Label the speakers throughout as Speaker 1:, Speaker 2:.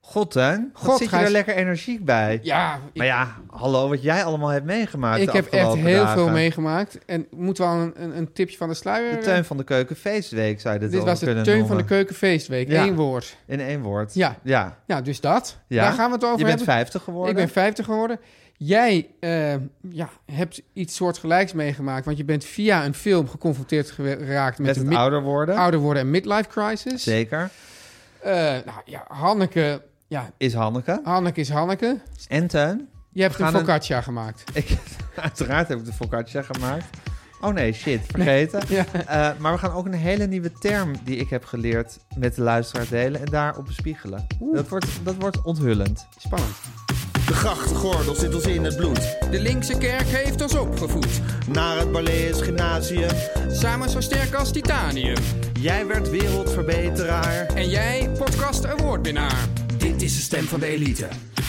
Speaker 1: God, hè?
Speaker 2: God,
Speaker 1: God, zit je
Speaker 2: Gijs.
Speaker 1: er lekker energiek bij.
Speaker 2: Ja, ik,
Speaker 1: Maar ja, hallo, wat jij allemaal hebt meegemaakt
Speaker 2: ik
Speaker 1: de
Speaker 2: heb echt
Speaker 1: afgelopen
Speaker 2: heel
Speaker 1: dagen.
Speaker 2: veel meegemaakt. En moeten we al een, een, een tipje van de sluier... eh,
Speaker 1: De Teun van de Keuken Feestweek zou je dit,
Speaker 2: Dit
Speaker 1: wel
Speaker 2: was de
Speaker 1: kunnen
Speaker 2: teun van de
Speaker 1: noemen.
Speaker 2: keukenfeestweek.
Speaker 1: Ja.
Speaker 2: Eén woord.
Speaker 1: In één woord.
Speaker 2: Ja.
Speaker 1: Ja.
Speaker 2: Ja, dus dat.
Speaker 1: Ja.
Speaker 2: Daar gaan we het over
Speaker 1: Je bent
Speaker 2: hebben.
Speaker 1: 50 geworden.
Speaker 2: Ik ben 50 geworden. Jij eh, ja, hebt iets soortgelijks meegemaakt. Want je bent via een film geconfronteerd gewe- geraakt met,
Speaker 1: Met
Speaker 2: de
Speaker 1: het
Speaker 2: mid-
Speaker 1: ouder worden.
Speaker 2: ouder worden en midlife crisis.
Speaker 1: Zeker.
Speaker 2: Eh, nou ja, Hanneke... Ja,
Speaker 1: Is Hanneke.
Speaker 2: Hanneke is Hanneke.
Speaker 1: En Teun.
Speaker 2: Je hebt een
Speaker 1: gaan een-
Speaker 2: focaccia gemaakt.
Speaker 1: Ik, uiteraard heb ik de focaccia gemaakt. Oh nee, shit, vergeten.
Speaker 2: Ja.
Speaker 1: Eh, maar we gaan ook een hele nieuwe term die ik heb geleerd met de luisteraar delen en daarop bespiegelen. Dat wordt, dat wordt onthullend.
Speaker 2: Spannend.
Speaker 3: De grachtgordel zit ons in het bloed.
Speaker 4: De linkse kerk heeft ons opgevoed.
Speaker 3: Naar het Balees Gymnasium.
Speaker 4: Samen zo sterk als titanium.
Speaker 3: Jij werd wereldverbeteraar.
Speaker 4: En jij, podcast awardwinnaar. Dit is de stem van de elite.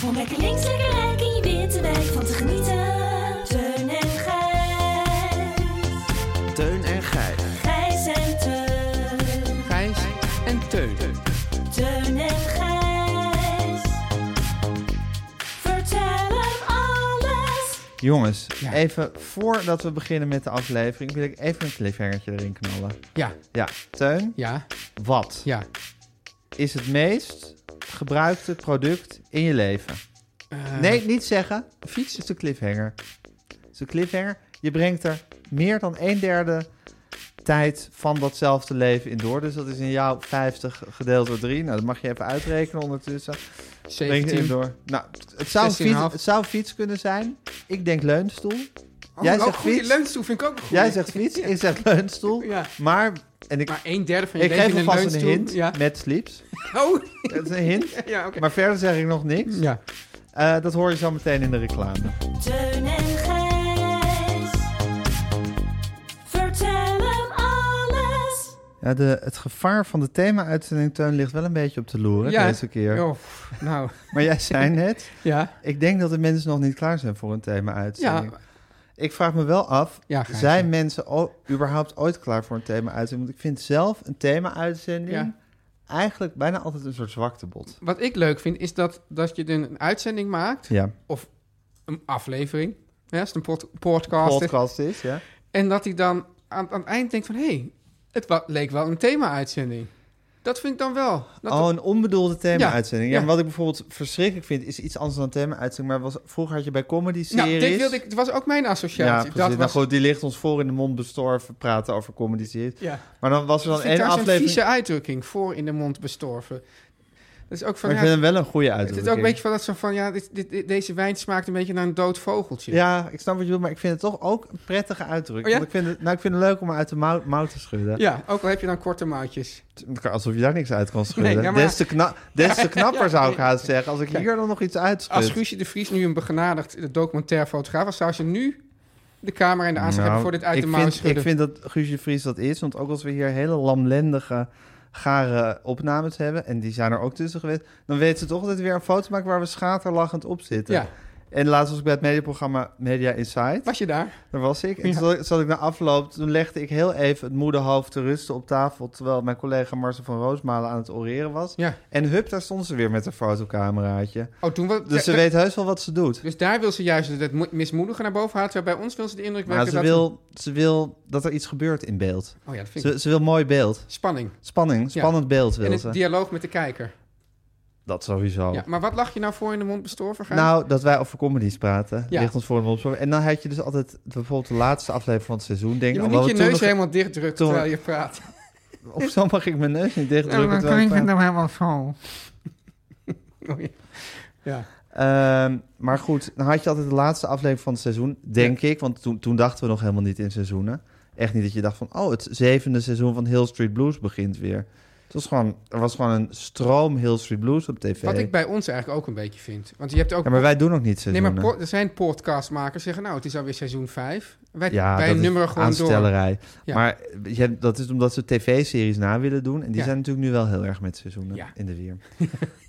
Speaker 5: Om lekker links, lekker rijk in je witte wijk van te genieten. Teun en Gijs.
Speaker 3: Teun en Gijs.
Speaker 5: Gijs en Teun.
Speaker 4: Gijs en Teun.
Speaker 5: Teun en Gijs. Vertel hem alles.
Speaker 1: Jongens,
Speaker 2: Ja.
Speaker 1: even voordat we beginnen met de aflevering, wil ik even een cliffhangertje erin knallen.
Speaker 2: Ja,
Speaker 1: Ja, Teun,
Speaker 2: ja,
Speaker 1: wat
Speaker 2: ja.
Speaker 1: is het meest gebruikte product in je leven?
Speaker 2: Eh.
Speaker 1: nee, niet zeggen. Fiets is de cliffhanger. Het is een cliffhanger. Je brengt er meer dan een derde tijd van datzelfde leven in door. Dus dat is in jouw 50 gedeeld door 3. Nou, dat mag je even uitrekenen ondertussen. Brengt het in
Speaker 2: 17.
Speaker 1: door. Nou, het zou, een
Speaker 2: 16,5.
Speaker 1: fiets, het zou een fiets kunnen zijn. Ik denk leunstoel. Jij
Speaker 2: Oh, ook
Speaker 1: zegt
Speaker 2: goede
Speaker 1: fiets.
Speaker 2: leunstoel vind ik ook een goede.
Speaker 1: Jij zegt fiets, ik zeg leunstoel.
Speaker 2: Ja.
Speaker 1: Maar, en ik,
Speaker 2: Maar een derde van je
Speaker 1: ik
Speaker 2: leven
Speaker 1: geef
Speaker 2: in een
Speaker 1: alvast een
Speaker 2: leunstoel.
Speaker 1: hint
Speaker 2: Ja.
Speaker 1: met sleeps.
Speaker 2: Oh,
Speaker 1: Dat is een hint.
Speaker 2: ja, oké.
Speaker 1: Maar verder zeg ik nog niks.
Speaker 2: Ja.
Speaker 1: Eh, dat hoor je zo meteen in de reclame.
Speaker 5: Teun en Gijs. Vertel hem alles.
Speaker 1: Ja, de, het gevaar van de thema-uitzending, Teun, ligt wel een beetje op de loer hè,
Speaker 2: ja.
Speaker 1: deze keer.
Speaker 2: Oh, pff, nou,
Speaker 1: Maar jij zei net,
Speaker 2: ja.
Speaker 1: ik denk dat de mensen nog niet klaar zijn voor een thema-uitzending.
Speaker 2: Ja.
Speaker 1: Ik vraag me wel af,
Speaker 2: Ja, Gijs,
Speaker 1: zijn
Speaker 2: ja.
Speaker 1: mensen o- überhaupt ooit klaar voor een thema-uitzending? Want ik vind zelf een thema-uitzending
Speaker 2: Ja.
Speaker 1: eigenlijk bijna altijd een soort zwaktebod.
Speaker 2: Wat ik leuk vind, is dat, dat je dan een uitzending maakt.
Speaker 1: Ja,
Speaker 2: Of een aflevering. Ja, als het een pod- podcast is.
Speaker 1: podcast is, ja.
Speaker 2: En dat hij dan aan, aan het eind denkt van... Hé, hey, het wa- leek wel een thema-uitzending. Dat vind ik dan wel. Dat
Speaker 1: oh, een onbedoelde thema-uitzending. Ja,
Speaker 2: Ja,
Speaker 1: maar
Speaker 2: ja.
Speaker 1: Wat ik bijvoorbeeld verschrikkelijk vind, is iets anders dan een thema-uitzending. Maar was, vroeger had je bij
Speaker 2: nou,
Speaker 1: comedy-series...
Speaker 2: dit wilde ik... Het was ook mijn
Speaker 1: Ja,
Speaker 2: associatie.
Speaker 1: precies.
Speaker 2: dat
Speaker 1: Nou
Speaker 2: was...
Speaker 1: goed, die ligt ons voor in de mond bestorven praten over comedy-series.
Speaker 2: Ja.
Speaker 1: Maar dan was er dan
Speaker 2: Ik vind
Speaker 1: één
Speaker 2: trouwens een
Speaker 1: aflevering...
Speaker 2: Dus vieze uitdrukking. Voor in de mond bestorven. Dat is ook van...
Speaker 1: Maar ik
Speaker 2: ja,
Speaker 1: vind hem wel een goede
Speaker 2: Het
Speaker 1: uitdrukking.
Speaker 2: is ook een beetje van dat zo van, ja, dit, dit, dit- deze wijn smaakt een beetje naar een dood vogeltje.
Speaker 1: Ja, ik snap wat je bedoelt, maar ik vind het toch ook een prettige uitdrukking.
Speaker 2: Oh ja?
Speaker 1: Want ik vind het, nou, ik vind het leuk om hem uit de mouw, mouw te schudden.
Speaker 2: Ja, ook al heb je dan korte mouwtjes.
Speaker 1: Alsof je daar niks uit kan schudden.
Speaker 2: Nee, ja, maar-
Speaker 1: Des te, kna- des te knapper zou ik haast zeggen als ik
Speaker 2: Kijk,
Speaker 1: hier dan nog iets
Speaker 2: Als
Speaker 1: uitschud.
Speaker 2: Guusje de Vries nu een begenadigd documentair fotograaf was, zou ze nu de camera en de aanzet hebben voor dit uit
Speaker 1: Nou, ik
Speaker 2: de mouw
Speaker 1: vind,
Speaker 2: schudden.
Speaker 1: Ik vind dat Guusje de Vries dat is. Want ook als we hier hele lamlendige, gare opnames hebben... en die zijn er ook tussen geweest... dan weten ze toch dat eh, we weer een foto maken waar we schaterlachend op zitten.
Speaker 2: Ja.
Speaker 1: En laatst was ik bij het mediaprogramma Media Insight.
Speaker 2: Was je daar?
Speaker 1: Daar was ik. En toen zat- zat ik naar afloop. Toen legde ik heel even het moederhoofd te rusten op tafel. Terwijl mijn collega Marcel van Roosmalen aan het oreren was.
Speaker 2: Ja.
Speaker 1: En hup, daar stond ze weer met haar fotocameraatje.
Speaker 2: Oh, toen was,
Speaker 1: Dus ze
Speaker 2: da-
Speaker 1: weet heus wel wat ze doet.
Speaker 2: dus daar wil ze juist het mo- mismoedigen naar boven halen. Terwijl bij ons wil ze de indruk
Speaker 1: Maar
Speaker 2: wekken
Speaker 1: ze
Speaker 2: dat...
Speaker 1: wil, ze wil dat er iets gebeurt in beeld.
Speaker 2: Oh ja, dat vind ik...
Speaker 1: Ze, ze wil mooi beeld.
Speaker 2: Spanning.
Speaker 1: Spanning,
Speaker 2: Ja.
Speaker 1: spannend beeld
Speaker 2: En
Speaker 1: wil
Speaker 2: het
Speaker 1: ze.
Speaker 2: dialoog met de kijker.
Speaker 1: Dat sowieso.
Speaker 2: Ja, maar wat lag je nou voor in de mond bestorven? Gijs?
Speaker 1: Nou, dat wij over comedies praten,
Speaker 2: Ja.
Speaker 1: ligt ons voor de mond. En dan had je dus altijd bijvoorbeeld de laatste aflevering van het seizoen. Denk,
Speaker 2: je
Speaker 1: ik,
Speaker 2: moet
Speaker 1: oh,
Speaker 2: niet
Speaker 1: we
Speaker 2: je
Speaker 1: toen
Speaker 2: neus
Speaker 1: nog-
Speaker 2: helemaal dichtdrukken
Speaker 1: toen-
Speaker 2: terwijl je praat.
Speaker 1: Of zo mag ik mijn neus niet dichtdrukken.
Speaker 2: Ja,
Speaker 1: terwijl ik praat.
Speaker 2: nou helemaal zo. Oh ja.
Speaker 1: Ehm, maar goed, dan had je altijd de laatste aflevering van het seizoen, denk ik. Want toen, toen dachten we nog helemaal niet in seizoenen. Echt niet dat je dacht van, oh, het zevende seizoen van Hill Street Blues begint weer. Het was gewoon, er was gewoon een stroom Hill Street Blues op tv.
Speaker 2: Wat ik bij ons eigenlijk ook een beetje vind. Want je hebt ook...
Speaker 1: Ja, maar wij eh, doen nog niet
Speaker 2: nee,
Speaker 1: seizoenen.
Speaker 2: maar po- er zijn podcastmakers zeggen... Nou, het is alweer seizoen 5. Wij,
Speaker 1: ja,
Speaker 2: wij
Speaker 1: dat is
Speaker 2: nummeren gewoon door.
Speaker 1: aanstellerij.
Speaker 2: Ja.
Speaker 1: Maar ja, dat is omdat ze tv-series na willen doen. En die
Speaker 2: Ja.
Speaker 1: zijn natuurlijk nu wel heel erg met seizoenen
Speaker 2: Ja.
Speaker 1: in de weer.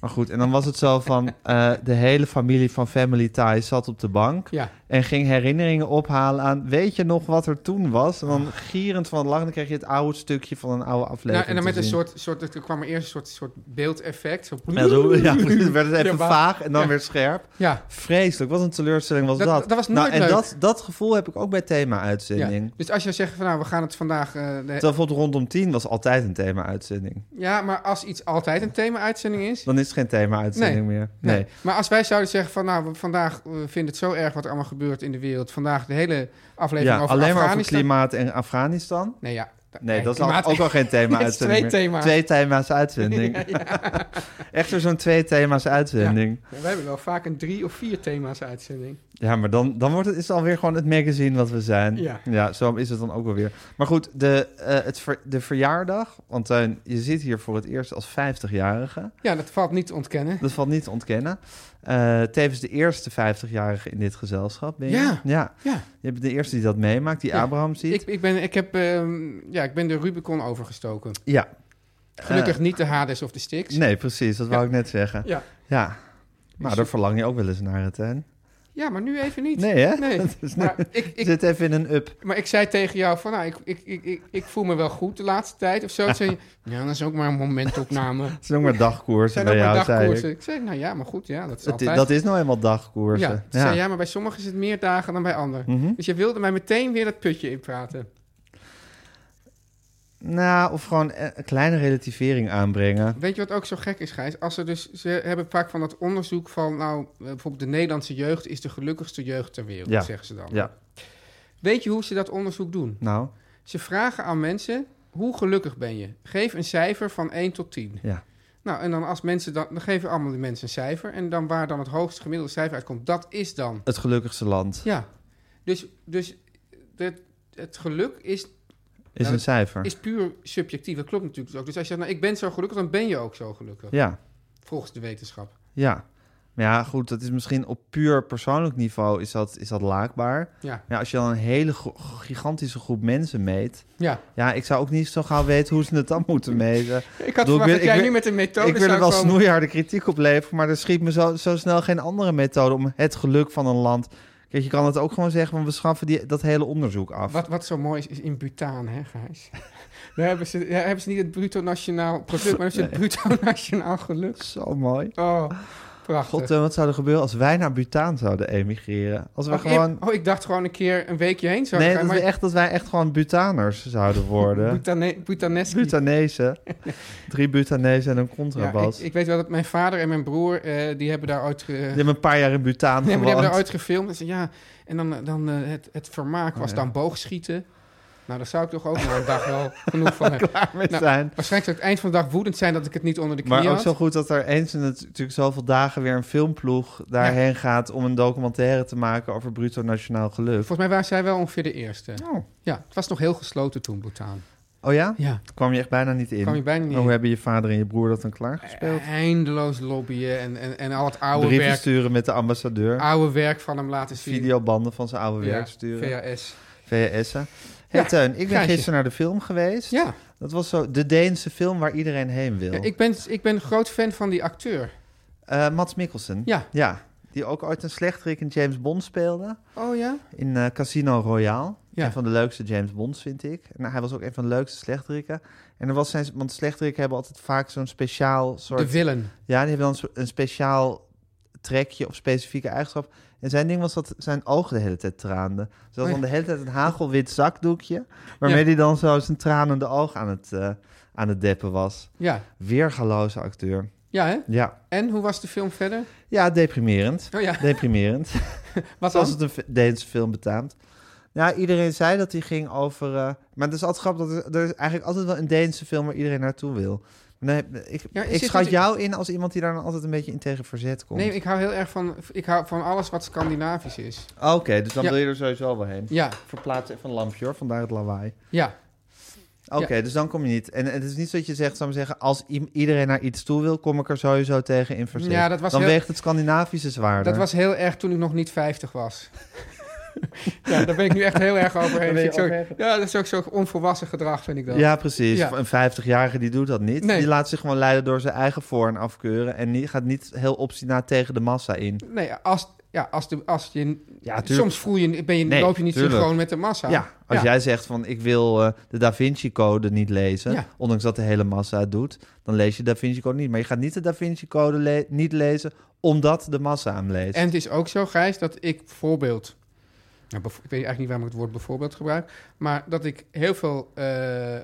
Speaker 1: maar goed, en dan was het zo van... eh, de hele familie van Family Ties zat op de bank...
Speaker 2: Ja.
Speaker 1: en ging herinneringen ophalen aan... weet je nog wat er toen was? En dan gierend van lachen, dan kreeg je het oude stukje van een oude aflevering
Speaker 2: Ah. Nou, en dan
Speaker 1: te
Speaker 2: met een
Speaker 1: zien.
Speaker 2: soort, soort... Er kwam er eerst een soort, soort beeldeffect. Zo...
Speaker 1: Ja, zo- ja, precies. werd het even
Speaker 2: Ja, maar-
Speaker 1: vaag en dan
Speaker 2: ja.
Speaker 1: weer scherp.
Speaker 2: Ja.
Speaker 1: Vreselijk, wat een teleurstelling was
Speaker 2: Dat-
Speaker 1: dat.
Speaker 2: dat was
Speaker 1: nou,
Speaker 2: nooit
Speaker 1: en
Speaker 2: leuk.
Speaker 1: Dat, dat gevoel heb ik ook bij
Speaker 2: Ja.
Speaker 1: thema-uitzending.
Speaker 2: Dus als je zegt van nou, we gaan het vandaag... eh, de-
Speaker 1: Terwijl bijvoorbeeld rondom 10 was altijd een thema-uitzending.
Speaker 2: ja, maar als iets altijd een thema-uitzending is...
Speaker 1: Dan is het geen thema-uitzending meer. Nee.
Speaker 2: Nee. Maar als wij zouden zeggen van nou, we- vandaag eh, vinden het zo erg wat er allemaal gebeurt in de wereld. Vandaag de hele aflevering
Speaker 1: Ja,
Speaker 2: over
Speaker 1: alleen maar over
Speaker 2: Afghanistan.
Speaker 1: klimaat en Afghanistan.
Speaker 2: Nee, ja.
Speaker 1: Nee, dat is
Speaker 2: klimaat-
Speaker 1: al- ook al geen thema-uitzending.
Speaker 2: Dit is twee
Speaker 1: meer.
Speaker 2: thema's.
Speaker 1: Twee thema's uitzending. Echt weer zo'n twee thema's uitzending.
Speaker 2: Ja, wij hebben wel vaak een drie of vier thema's uitzending.
Speaker 1: Ja, maar dan, dan wordt het, is het alweer gewoon het magazine wat we zijn.
Speaker 2: Ja.
Speaker 1: zo is het dan ook alweer. Maar goed, de, eh, het ver- de verjaardag. Want Teun, je zit hier voor het eerst als 50-jarige.
Speaker 2: Ja, dat valt niet te ontkennen.
Speaker 1: Dat valt niet te ontkennen. Eh, tevens de eerste 50-jarige in dit gezelschap ben je.
Speaker 2: Ja.
Speaker 1: ja.
Speaker 2: Ja,
Speaker 1: Je bent de eerste die dat meemaakt, die
Speaker 2: Ja.
Speaker 1: Abraham ziet.
Speaker 2: ik, ik, ben, ik, heb, ehm, ja, ik ben de Rubicon overgestoken.
Speaker 1: Ja.
Speaker 2: Gelukkig
Speaker 1: Eh,
Speaker 2: niet de Hades of de Styx.
Speaker 1: nee, precies. Dat wou ik net zeggen.
Speaker 2: Ja.
Speaker 1: Ja. Nou,
Speaker 2: Dus-
Speaker 1: daar verlang je ook wel eens naar het, hè?
Speaker 2: ja, maar nu even niet.
Speaker 1: Nee, hè?
Speaker 2: Nee.
Speaker 1: Dat is
Speaker 2: Maar,
Speaker 1: niet-
Speaker 2: ik, ik,
Speaker 1: Zit even in een up.
Speaker 2: maar ik zei tegen jou van, nou, ik, ik, ik, ik, ik voel me wel goed de laatste tijd of zo. Toen zei je, ja, dat is ook maar een momentopname.
Speaker 1: Het zijn ook maar dagkoersen
Speaker 2: zijn
Speaker 1: bij
Speaker 2: ook maar
Speaker 1: jou, zei
Speaker 2: dagkoersen.
Speaker 1: ik.
Speaker 2: Ik. zei, nou ja, maar goed, ja, dat is
Speaker 1: Dat,
Speaker 2: altijd...
Speaker 1: i- dat is nou eenmaal
Speaker 2: ja,
Speaker 1: dagkoersen.
Speaker 2: toen zei, ja, maar bij sommigen is het meer dagen dan bij anderen.
Speaker 1: Mhm.
Speaker 2: Dus je wilde mij meteen weer dat putje inpraten.
Speaker 1: Nou, of gewoon eh, een kleine relativering aanbrengen.
Speaker 2: Weet je wat ook zo gek is, Gijs? Als er dus, ze hebben vaak van dat onderzoek van, nou, eh, bijvoorbeeld de Nederlandse jeugd is de gelukkigste jeugd ter wereld,
Speaker 1: Ja.
Speaker 2: zeggen ze dan.
Speaker 1: Ja.
Speaker 2: Weet je hoe ze dat onderzoek doen?
Speaker 1: Nou,
Speaker 2: Ze vragen aan mensen, hoe gelukkig ben je? Geef een cijfer van 1 tot 10.
Speaker 1: ja.
Speaker 2: Nou, en dan als mensen dan, dan geven allemaal de mensen een cijfer. En dan waar dan het hoogste gemiddelde cijfer uitkomt, dat is dan
Speaker 1: Het gelukkigste land
Speaker 2: Ja, dus, dus het, het geluk is,
Speaker 1: is
Speaker 2: dat
Speaker 1: een cijfer.
Speaker 2: Nou, is puur subjectief. Dat klopt natuurlijk ook. Dus als je zegt, nou, ik ben zo gelukkig, dan ben je ook zo gelukkig.
Speaker 1: Ja,
Speaker 2: Volgens de wetenschap.
Speaker 1: ja. Maar ja, goed, dat is misschien op puur persoonlijk niveau is dat, is dat laakbaar.
Speaker 2: Ja,
Speaker 1: Ja, als je dan een hele gro- gigantische groep mensen meet...
Speaker 2: ja.
Speaker 1: Ja, ik zou ook niet zo gauw weten hoe ze het dan moeten meten.
Speaker 2: Ik had
Speaker 1: Doe, ik
Speaker 2: verwacht
Speaker 1: wil-
Speaker 2: dat jij
Speaker 1: ik wil-
Speaker 2: nu met een methode
Speaker 1: ik wil er
Speaker 2: zou
Speaker 1: wel
Speaker 2: komen.
Speaker 1: snoeiharde kritiek op leveren, maar er schiet me zo, zo snel geen andere methode om het geluk van een land. Kijk, je kan het ook gewoon zeggen, want we schaffen die, dat hele onderzoek af.
Speaker 2: Wat, wat zo mooi is, is in Bhutan, hè, Gijs? daar, hebben ze, daar hebben ze niet het bruto nationaal product, maar daar hebben ze het bruto nationaal geluk.
Speaker 1: Zo mooi.
Speaker 2: Oh, prachtig.
Speaker 1: God, eh, wat zou er gebeuren als wij naar Bhutan zouden emigreren? Als we
Speaker 2: oh,
Speaker 1: gewoon.
Speaker 2: ik, oh, ik dacht gewoon een keer een weekje heen zou
Speaker 1: nee,
Speaker 2: gaan,
Speaker 1: dat, we echt, dat wij echt gewoon Bhutaners zouden worden.
Speaker 2: Bhutane- Bhutaneski.
Speaker 1: Bhutanese. Drie Bhutanese en een
Speaker 2: Ja,
Speaker 1: contrabas.
Speaker 2: ik, ik weet wel dat mijn vader en mijn broer, eh, die hebben daar ooit... ge-
Speaker 1: Die hebben een paar jaar in Bhutan
Speaker 2: Nee, maar die
Speaker 1: gewoond.
Speaker 2: hebben eruit gefilmd. En, ze, ja, en dan, eh, dan eh, het, het vermaak was
Speaker 1: Oh, ja.
Speaker 2: dan boogschieten. Nou, daar zou ik toch ook nog een dag wel genoeg van hebben.
Speaker 1: Klaar mee
Speaker 2: Nou,
Speaker 1: zijn.
Speaker 2: Waarschijnlijk zou ik het eind van de dag woedend zijn dat ik het niet onder de knie
Speaker 1: Maar ook
Speaker 2: had.
Speaker 1: zo goed dat er eens in het, natuurlijk zoveel dagen weer een filmploeg daarheen gaat om een documentaire te maken over bruto nationaal geluk.
Speaker 2: Volgens mij waren zij wel ongeveer de eerste.
Speaker 1: Oh.
Speaker 2: Ja, het was nog heel gesloten toen, Bhutan.
Speaker 1: Oh ja?
Speaker 2: Ja,
Speaker 1: Kwam je echt bijna niet in.
Speaker 2: kwam je bijna niet
Speaker 1: Hoe
Speaker 2: in.
Speaker 1: hebben je vader en je broer dat dan klaargespeeld?
Speaker 2: Eindeloos lobbyen en, en, en al het Eh, oude
Speaker 1: Brieven
Speaker 2: werk,
Speaker 1: sturen met de ambassadeur.
Speaker 2: oude werk van hem laten zien.
Speaker 1: Videobanden van zijn oude
Speaker 2: Ja,
Speaker 1: werk sturen.
Speaker 2: VHS.
Speaker 1: VHS'en. Hey,
Speaker 2: Ja,
Speaker 1: Teun, ik ben
Speaker 2: Gijsje.
Speaker 1: gisteren naar de film geweest.
Speaker 2: Ja,
Speaker 1: Dat was zo de Deense film waar iedereen heen wil.
Speaker 2: ja, ik, ben, ik ben groot fan van die acteur.
Speaker 1: Eh, Mats Mikkelsen.
Speaker 2: Ja.
Speaker 1: ja. die ook ooit een slechterik in James Bond speelde.
Speaker 2: Oh ja?
Speaker 1: In eh, Casino Royale.
Speaker 2: Ja.
Speaker 1: Een van de leukste James Bonds, vind ik. Nou, hij was ook een van de leukste slechterikken. En er was zijn... Want slechterikken hebben altijd vaak zo'n speciaal soort...
Speaker 2: De villain.
Speaker 1: Ja, die hebben dan zo- een speciaal trekje of specifieke eigenschap. En zijn ding was dat zijn ogen de hele tijd traanden. Ze had
Speaker 2: Oh ja.
Speaker 1: dan de hele tijd een hagelwit zakdoekje... waarmee hij dan zo zijn tranende oog aan het, eh, aan het deppen was.
Speaker 2: Ja.
Speaker 1: Weergaloze acteur.
Speaker 2: Ja, hè?
Speaker 1: Ja,
Speaker 2: En hoe was de film verder?
Speaker 1: ja deprimerend.
Speaker 2: Oh ja,
Speaker 1: Deprimerend.
Speaker 2: wat
Speaker 1: Zoals
Speaker 2: was
Speaker 1: het een fi- Deense film betaamt. Ja, iedereen zei dat hij ging over... eh, maar het is altijd grappig, dat er, er is eigenlijk altijd wel een Deense film waar iedereen naartoe wil. Nee, ik,
Speaker 2: Ja, is
Speaker 1: ik
Speaker 2: dit
Speaker 1: schat
Speaker 2: niet-
Speaker 1: jou in als iemand die daar dan altijd een beetje in tegen verzet komt.
Speaker 2: Nee, ik hou heel erg van, ik hou van alles wat Scandinavisch is.
Speaker 1: Oké, dus dan
Speaker 2: Ja.
Speaker 1: wil je er sowieso wel heen.
Speaker 2: Ja,
Speaker 1: Verplaatsen even een lampje hoor, vandaar het lawaai.
Speaker 2: ja.
Speaker 1: Oké, dus dan kom je niet. En het is niet zo dat je zegt, zou ik maar zeggen... als i- iedereen naar iets toe wil, kom ik er sowieso tegen in verzet.
Speaker 2: Ja, dat was
Speaker 1: dan
Speaker 2: heel-
Speaker 1: weegt het Scandinavische zwaarder.
Speaker 2: Dat was heel erg toen ik nog niet 50 was. ja, daar ben ik nu echt heel erg
Speaker 1: Daar ben
Speaker 2: overheen.
Speaker 1: je
Speaker 2: Vind ik zo-
Speaker 1: overheen.
Speaker 2: ja, dat is ook zo'n onvolwassen gedrag, vind ik dat.
Speaker 1: Ja, precies.
Speaker 2: Ja.
Speaker 1: Een 50-jarige die doet dat niet.
Speaker 2: Nee.
Speaker 1: Die laat zich gewoon leiden door zijn eigen voor- en afkeuren. En die gaat niet heel obstinaat tegen de massa in.
Speaker 2: Nee, als, ja, als, de, als je...
Speaker 1: Ja, tuurlijk.
Speaker 2: soms voel je, ben je,
Speaker 1: Nee,
Speaker 2: loop je niet zo
Speaker 1: tuurlijk.
Speaker 2: gewoon met de massa.
Speaker 1: Ja, als jij zegt van ik wil eh, de Da Vinci Code niet lezen,
Speaker 2: Ja.
Speaker 1: ondanks dat de hele massa het doet, dan lees je Da Vinci Code niet. Maar je gaat niet de Da Vinci Code le- niet lezen omdat de massa hem leest.
Speaker 2: En het is ook zo, Gijs, dat ik bijvoorbeeld... Nou, bev- ik weet eigenlijk niet waarom ik het woord bijvoorbeeld gebruik... maar dat ik heel veel eh,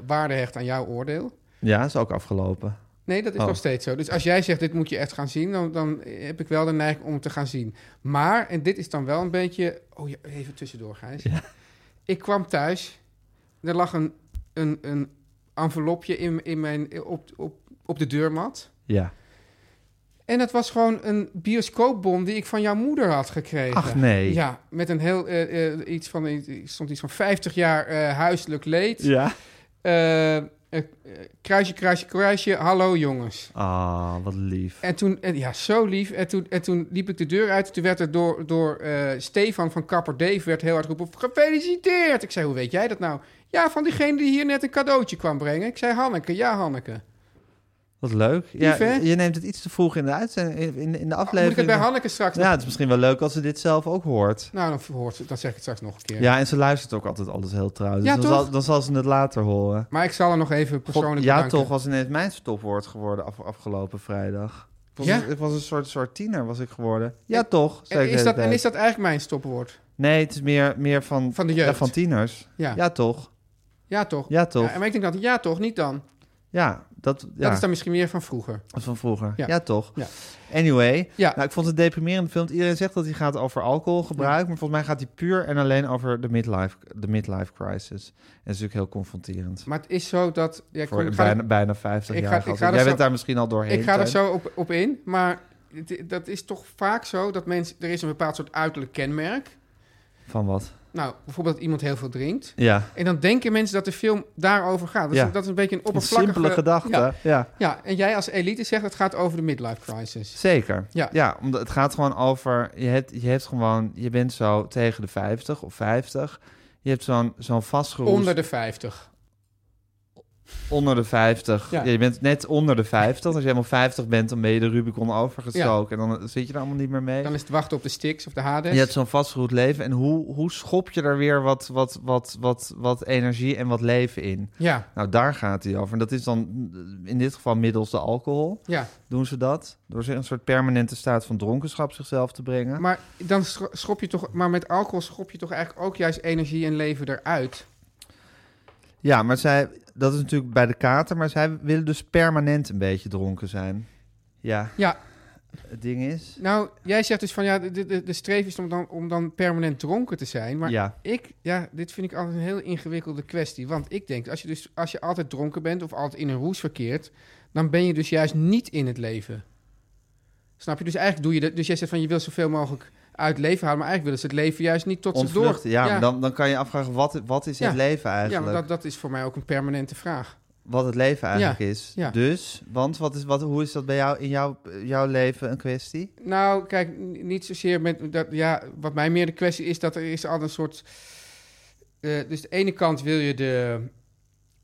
Speaker 2: waarde hecht aan jouw oordeel.
Speaker 1: Ja, is ook afgelopen.
Speaker 2: Nee, dat is
Speaker 1: Oh.
Speaker 2: nog steeds zo. Dus als jij zegt, dit moet je echt gaan zien... Dan, dan heb ik wel de neiging om het te gaan zien. Maar, en dit is dan wel een beetje... Oh ja, even tussendoor, Gijs. Ik kwam thuis. Er lag een, een, een envelopje in, in mijn, op, op, op de deurmat...
Speaker 1: Ja.
Speaker 2: En dat was gewoon een bioscoopbon die ik van jouw moeder had gekregen.
Speaker 1: Ach, nee.
Speaker 2: Ja, met een heel eh, eh, iets van eh, stond iets van 50 jaar eh, huiselijk leed.
Speaker 1: Ja.
Speaker 2: Eh, eh, eh, kruisje, kruisje, kruisje. Hallo jongens.
Speaker 1: Ah, wat lief.
Speaker 2: En toen, en ja, zo lief. En toen, en toen liep ik de deur uit. Toen werd er door, door eh, Stefan van Kapper Dave werd heel hard geroepen... Gefeliciteerd! Ik zei, hoe weet jij dat nou? Ja, van diegene die hier net een cadeautje kwam brengen. Ik zei, Hanneke. Ja, Hanneke.
Speaker 1: Wat leuk.
Speaker 2: Lief,
Speaker 1: ja,
Speaker 2: hè?
Speaker 1: je neemt het iets te vroeg in de, uitzending, in- in, in de
Speaker 2: Moet ik
Speaker 1: aflevering. eh,
Speaker 2: het bij Hanneke straks
Speaker 1: ja,
Speaker 2: nog-
Speaker 1: het is misschien wel leuk als ze dit zelf ook hoort.
Speaker 2: Nou, dan, hoort, ze- dan zeg ik het straks nog een keer.
Speaker 1: Ja, en ze luistert ook altijd alles heel trouw. Dus
Speaker 2: Ja,
Speaker 1: dan,
Speaker 2: toch?
Speaker 1: zal, dan zal ze het later horen.
Speaker 2: Maar ik zal er nog even persoonlijk
Speaker 1: God, ja,
Speaker 2: bedanken.
Speaker 1: toch was ineens mijn stopwoord geworden af, afgelopen vrijdag. Ik was,
Speaker 2: Ja?
Speaker 1: een, ik was een soort, soort tiener was ik geworden. Ja,
Speaker 2: En-
Speaker 1: toch? zei
Speaker 2: En
Speaker 1: ik de
Speaker 2: is, dat,
Speaker 1: hele
Speaker 2: en is
Speaker 1: tijd.
Speaker 2: dat eigenlijk mijn stopwoord?
Speaker 1: Nee, het is meer, meer van,
Speaker 2: Van de jeugd.
Speaker 1: ja, van tieners.
Speaker 2: Ja.
Speaker 1: Ja. toch?
Speaker 2: Ja, toch?
Speaker 1: Ja, toch?
Speaker 2: Ja, maar ik denk dat ja, toch? Niet dan.
Speaker 1: Ja, dat, ja.
Speaker 2: Dat is dan misschien meer van vroeger.
Speaker 1: van vroeger.
Speaker 2: Ja.
Speaker 1: Ja, toch?
Speaker 2: Ja.
Speaker 1: Anyway,
Speaker 2: Ja.
Speaker 1: nou, ik vond het een deprimerende film. Iedereen zegt dat hij gaat over alcoholgebruik, maar volgens mij gaat hij puur en alleen over de midlife, de midlife crisis. En dat is natuurlijk heel confronterend.
Speaker 2: Maar het is zo dat... Ja, ik,
Speaker 1: Voor
Speaker 2: ik ga,
Speaker 1: bijna, bijna 50
Speaker 2: ik ga-
Speaker 1: jaar.
Speaker 2: ik ga er
Speaker 1: Jij
Speaker 2: zo-
Speaker 1: bent daar misschien al doorheen.
Speaker 2: ik ga er
Speaker 1: Teun.
Speaker 2: zo op, op in, maar het- dat is toch vaak zo dat mensen... Er is een bepaald soort uiterlijk kenmerk.
Speaker 1: Van wat?
Speaker 2: Nou, bijvoorbeeld dat iemand heel veel drinkt.
Speaker 1: Ja.
Speaker 2: En dan denken mensen dat de film daarover gaat. Dat,
Speaker 1: Ja.
Speaker 2: is, dat is een beetje een
Speaker 1: Een
Speaker 2: oppervlakkige...
Speaker 1: simpele gedachte. Ja,
Speaker 2: Ja, ja, en jij als elite zegt het gaat over de midlife crisis.
Speaker 1: zeker.
Speaker 2: Ja.
Speaker 1: omdat het gaat gewoon over... Je, hebt, je, hebt gewoon, je bent zo tegen de 50 of 50. Je hebt zo'n zo'n vastgeroest...
Speaker 2: Onder de 50.
Speaker 1: onder de 50.
Speaker 2: Ja.
Speaker 1: Ja. je bent net onder de 50. Als je helemaal 50 bent, dan ben je de Rubicon overgestoken. En dan zit je er allemaal niet meer mee.
Speaker 2: Dan is het wachten op de Styx of de Hades.
Speaker 1: Je hebt zo'n vastgeroest leven. En hoe, hoe schop je er weer wat, wat, wat, wat, wat energie en wat leven in?
Speaker 2: ja,
Speaker 1: Nou, daar gaat hij over. En dat is dan mm, in dit geval middels de alcohol.
Speaker 2: ja.
Speaker 1: Doen ze dat? Door ze in een soort permanente staat van dronkenschap zichzelf te brengen.
Speaker 2: Maar dan schro- schop je toch, maar met alcohol schop je toch eigenlijk ook juist energie en leven eruit.
Speaker 1: Ja, maar zij, dat is natuurlijk bij de kater, maar zij willen dus permanent een beetje dronken zijn. Ja,
Speaker 2: Ja,
Speaker 1: het ding is.
Speaker 2: nou, jij zegt dus van ja, de, de, de streef is om dan, om dan permanent dronken te zijn. Maar
Speaker 1: Ja.
Speaker 2: ik, ja, dit vind ik altijd een heel ingewikkelde kwestie. Want ik denk, als je dus als je altijd dronken bent of altijd in een roes verkeert, dan ben je dus juist niet in het leven. Snap je? Dus eigenlijk doe je dat. Dus jij zegt van je wil zoveel mogelijk uit leven halen, maar eigenlijk willen ze het leven juist niet tot ze door.
Speaker 1: Ontvluchten. Ja, maar dan, dan kan je afvragen, wat, wat is
Speaker 2: Ja.
Speaker 1: het leven
Speaker 2: ja,
Speaker 1: eigenlijk?
Speaker 2: maar dat, dat is voor mij ook een permanente vraag.
Speaker 1: Wat het leven eigenlijk is.
Speaker 2: ja.
Speaker 1: Dus, want wat is, wat, hoe is dat bij jou in jouw, jouw leven een kwestie?
Speaker 2: Nou, kijk, n- niet zozeer met dat. Ja, wat mij meer de kwestie is dat er is altijd een soort. eh, dus de ene kant wil je de,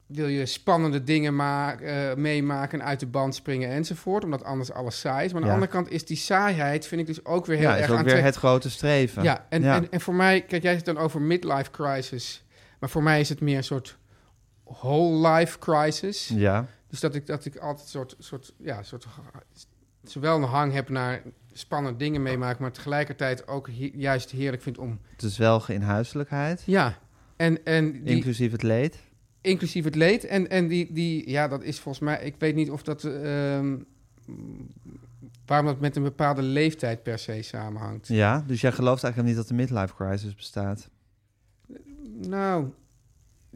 Speaker 2: wil je spannende dingen ma- eh, meemaken, uit de band springen enzovoort, omdat anders alles saai is. Maar aan
Speaker 1: Ja.
Speaker 2: de andere kant is die saaiheid, vind ik dus ook weer heel
Speaker 1: ja,
Speaker 2: erg
Speaker 1: is ook weer
Speaker 2: aantrek-
Speaker 1: het grote streven.
Speaker 2: Ja, en, En, en voor mij, kijk, jij hebt het dan over midlife crisis, maar voor mij is het meer een soort whole life crisis.
Speaker 1: ja.
Speaker 2: Dus dat ik, dat ik altijd een soort, soort, ja, soort, zowel een hang heb naar spannende dingen meemaken, maar tegelijkertijd ook he- juist heerlijk vind om.
Speaker 1: dus wel in huiselijkheid,
Speaker 2: Ja, en, en die,
Speaker 1: inclusief het leed.
Speaker 2: inclusief het leed. En, en die, die, ja, dat is volgens mij, ik weet niet of dat, ehm, waarom dat met een bepaalde leeftijd per se samenhangt.
Speaker 1: Ja, dus jij gelooft eigenlijk niet dat de midlife crisis bestaat.
Speaker 2: Nou,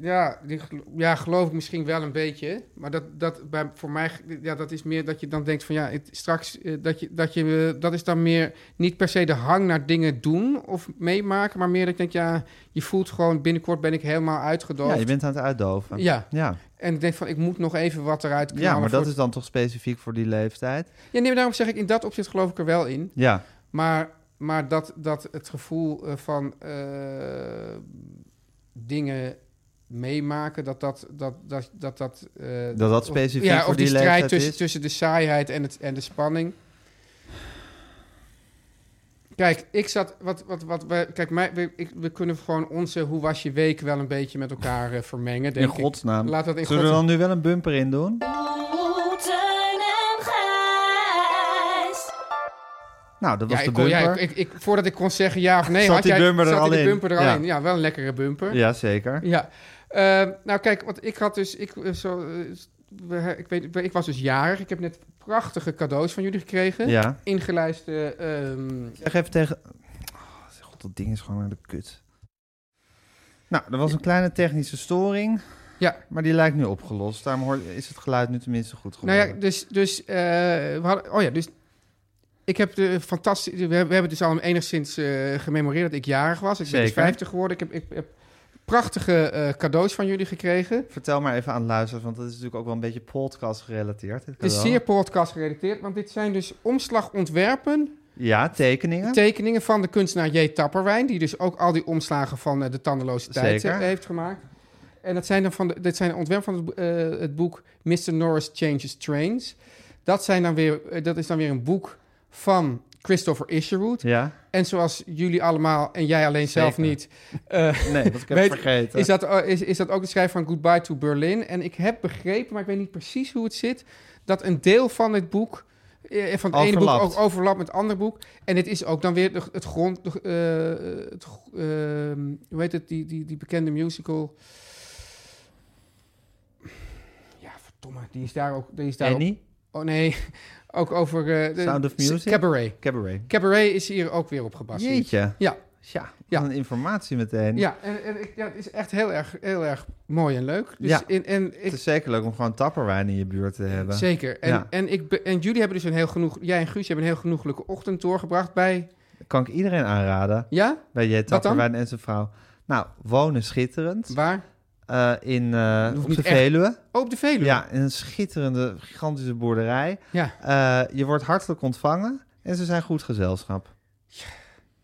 Speaker 2: ja, die, gelo- ja, geloof ik misschien wel een beetje. Maar dat, dat bij, voor mij, ja, dat is meer dat je dan denkt van ja, het, straks, eh, dat, je, dat, je, eh, dat is dan meer niet per se de hang naar dingen doen of meemaken. Maar meer dat ik denk, ja, je voelt gewoon binnenkort ben ik helemaal uitgedoofd.
Speaker 1: Ja, je bent aan het uitdoven.
Speaker 2: Ja,
Speaker 1: ja.
Speaker 2: en ik denk van ik moet nog even wat eruit knallen.
Speaker 1: Ja, maar dat
Speaker 2: voor-
Speaker 1: is dan toch specifiek voor die leeftijd?
Speaker 2: Ja, nee, maar daarom zeg ik, in dat opzicht geloof ik er wel in.
Speaker 1: Ja,
Speaker 2: Maar, maar dat, dat het gevoel eh, van eh, dingen meemaken, dat dat... Dat dat, dat, dat, eh,
Speaker 1: dat dat
Speaker 2: of-
Speaker 1: specifiek
Speaker 2: ja,
Speaker 1: voor
Speaker 2: of
Speaker 1: die,
Speaker 2: die strijd
Speaker 1: leeftijd
Speaker 2: tussen,
Speaker 1: is?
Speaker 2: tussen de saaiheid en, het, en de spanning. Kijk, ik zat. Wat, wat, wat, we, kijk, mij, we, ik- we kunnen gewoon onze hoe was je week wel een beetje met elkaar eh, vermengen. Denk
Speaker 1: In godsnaam.
Speaker 2: Ik. Laat dat in
Speaker 1: Zullen we er
Speaker 2: godsnaam-
Speaker 1: dan nu wel een bumper in doen?
Speaker 5: Oeh, Teun en Gijs.
Speaker 1: Nou, dat was
Speaker 2: Ja,
Speaker 1: de
Speaker 2: ik kon,
Speaker 1: bumper.
Speaker 2: ja, ik, ik- voordat ik kon zeggen ja of nee,
Speaker 1: Zat
Speaker 2: had
Speaker 1: die
Speaker 2: jij,
Speaker 1: bumper er
Speaker 2: zat
Speaker 1: al
Speaker 2: die
Speaker 1: in?
Speaker 2: bumper er al
Speaker 1: Ja.
Speaker 2: in. Ja, wel een lekkere bumper.
Speaker 1: Ja, zeker.
Speaker 2: Ja. Eh, nou, kijk, want ik had dus. Ik, eh, zo, eh, we- ik, weet, ik was dus jarig. Ik heb net prachtige cadeaus van jullie gekregen.
Speaker 1: Ja.
Speaker 2: Ingelijste. ehm,
Speaker 1: Zeg even tegen... Oh, God, dat ding is gewoon naar de kut. Nou, er was een kleine technische storing.
Speaker 2: Ja.
Speaker 1: Maar die lijkt nu opgelost. Daarom hoor- is het geluid nu tenminste goed
Speaker 2: nou
Speaker 1: geworden.
Speaker 2: ja, dus. dus eh, we hadden, oh ja, dus. Ik heb de fantastische. We, hebben- we hebben dus al enigszins eh, gememoreerd dat ik jarig was. Ik ben dus
Speaker 1: Zeker.
Speaker 2: 50 geworden. Ik heb, ik, heb prachtige eh, cadeaus van jullie gekregen.
Speaker 1: Vertel maar even aan de luisteraars, want dat is natuurlijk ook wel een beetje podcast gerelateerd. dit
Speaker 2: Het is
Speaker 1: cadeau.
Speaker 2: zeer podcast gerelateerd, want dit zijn dus omslagontwerpen
Speaker 1: Ja, tekeningen.
Speaker 2: tekeningen van de kunstenaar J. Tapperwijn... die dus ook al die omslagen van eh, de tandeloze tijd
Speaker 1: Zeker.
Speaker 2: eh, heeft gemaakt. En dat zijn dan van de, dit zijn ontwerp van het, bo- eh, het boek Mr. Norris Changes Trains. Dat, zijn dan weer, eh, dat is dan weer een boek van Christopher Isherwood.
Speaker 1: ja,
Speaker 2: En zoals jullie allemaal en jij alleen zelf
Speaker 1: Zeker.
Speaker 2: niet... eh,
Speaker 1: nee, dat ik heb
Speaker 2: Weet-
Speaker 1: vergeten.
Speaker 2: is, dat, eh, is, is dat ook de schrijver van Goodbye to Berlin? En ik heb begrepen, maar ik weet niet precies hoe het zit... dat een deel van het boek... eh, van het ene boek
Speaker 1: Overlapt.
Speaker 2: ook overlapt met het andere boek. En dit is ook dan weer de- het grond... de- eh, het, gro- ehm, hoe heet het? Die, die, die bekende musical... Ja, verdomme. Die is daar ook... Die is daar ook-
Speaker 1: Annie?
Speaker 2: oh nee, ook over... eh, de-
Speaker 1: Sound of Music?
Speaker 2: Cabaret.
Speaker 1: Cabaret.
Speaker 2: Cabaret is hier ook weer op gebaseerd.
Speaker 1: Jeetje.
Speaker 2: Ja,
Speaker 1: Ja,
Speaker 2: Ja.
Speaker 1: wat een informatie meteen.
Speaker 2: ja, en, en ik, ja, het is echt heel erg, heel erg mooi en leuk. Dus
Speaker 1: Ja.
Speaker 2: in, en ik,
Speaker 1: Het is zeker leuk om gewoon tapperwijn in je buurt te hebben.
Speaker 2: zeker. En,
Speaker 1: Ja.
Speaker 2: en, ik, be- en jullie hebben dus een heel genoeg, jij en Guus hebben een heel genoeglijke ochtend doorgebracht bij,
Speaker 1: Kan ik iedereen aanraden
Speaker 2: ja,
Speaker 1: bij J. Tapperwijn en zijn vrouw. Nou, wonen schitterend.
Speaker 2: waar?
Speaker 1: Eh, in, eh,
Speaker 2: hoeft
Speaker 1: op
Speaker 2: niet
Speaker 1: de
Speaker 2: echt-
Speaker 1: Veluwe.
Speaker 2: Oh, op de Veluwe.
Speaker 1: Ja, in een schitterende, gigantische boerderij.
Speaker 2: Ja.
Speaker 1: Eh, je wordt hartelijk ontvangen en ze zijn goed gezelschap.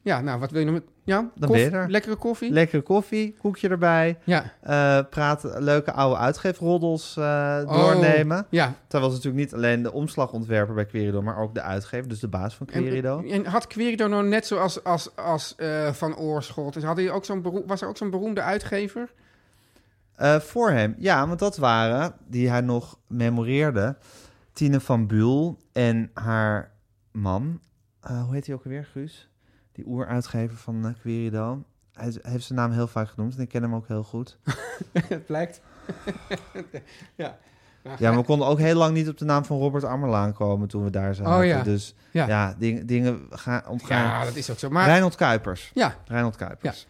Speaker 2: Ja, nou, wat wil je nog met, ja,
Speaker 1: ben
Speaker 2: koffie,
Speaker 1: je er.
Speaker 2: lekkere koffie.
Speaker 1: Lekkere koffie, koekje erbij.
Speaker 2: ja.
Speaker 1: Eh praten, leuke oude uitgeefroddels eh,
Speaker 2: Oh,
Speaker 1: doornemen.
Speaker 2: Ja.
Speaker 1: Terwijl ze natuurlijk niet alleen de omslagontwerper bij Querido, maar ook de uitgever, dus de baas van
Speaker 2: En, eh,
Speaker 1: Querido.
Speaker 2: en had Querido nou net zoals als, als, eh, Van Oorschot, dus had hij ook zo'n beroe- was er ook zo'n beroemde uitgever?
Speaker 1: Eh, voor hem, ja, want dat waren, die hij nog memoreerde, Tine van Buul en haar man. Eh, hoe heet hij ook alweer, Guus? Die oeruitgever van eh, Querido. Hij, is- hij heeft zijn naam heel vaak genoemd en ik ken hem ook heel goed.
Speaker 2: Het blijkt. ja.
Speaker 1: Ja, maar we konden ook heel lang niet op de naam van Robert Ammerlaan komen toen we daar zaten.
Speaker 2: Oh ja.
Speaker 1: Dus ja,
Speaker 2: Ja.
Speaker 1: ding- dingen gaan ontgaan.
Speaker 2: ja, dat is ook zo. Maar
Speaker 1: Reinhold Kuipers.
Speaker 2: ja,
Speaker 1: Reinhold Kuipers.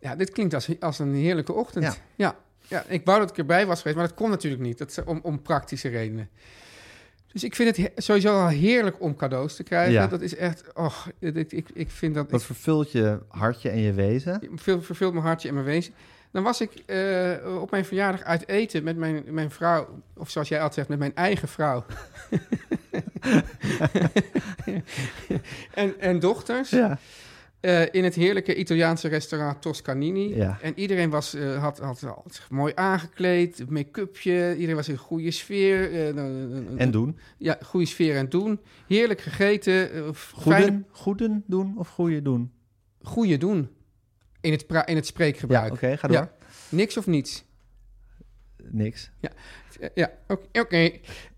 Speaker 2: Ja, dit klinkt als, als een heerlijke ochtend.
Speaker 1: Ja.
Speaker 2: Ja. Ja. ik wou dat ik erbij was geweest, maar dat kon natuurlijk niet. Dat is om, om praktische redenen. Dus ik vind het he- sowieso al heerlijk om cadeaus te krijgen.
Speaker 1: Ja.
Speaker 2: Dat is echt, oh, ik, ik, ik vind dat...
Speaker 1: Dat vervult je hartje en je wezen.
Speaker 2: ik- veel, verveelt mijn hartje en mijn wezen. Dan was ik eh, op mijn verjaardag uit eten met mijn, mijn vrouw... of zoals jij altijd zegt, met mijn eigen vrouw. en, en dochters.
Speaker 1: Ja.
Speaker 2: eh, in het heerlijke Italiaanse restaurant Toscanini.
Speaker 1: Ja.
Speaker 2: En iedereen was, eh, had, had, al zich mooi aangekleed, make-upje. Iedereen was in een goede sfeer. eh, een- een- een-
Speaker 1: En doen.
Speaker 2: Ja, goede sfeer en doen. Heerlijk gegeten. eh, fijne-
Speaker 1: Goeden, goeden doen of goede doen?
Speaker 2: goede doen. In het, pra- in het
Speaker 1: Ja,
Speaker 2: spreekgebruik.
Speaker 1: oké, ga door.
Speaker 2: Ja. Niks of niets.
Speaker 1: Niks.
Speaker 2: Eh, Ja, oké. oké.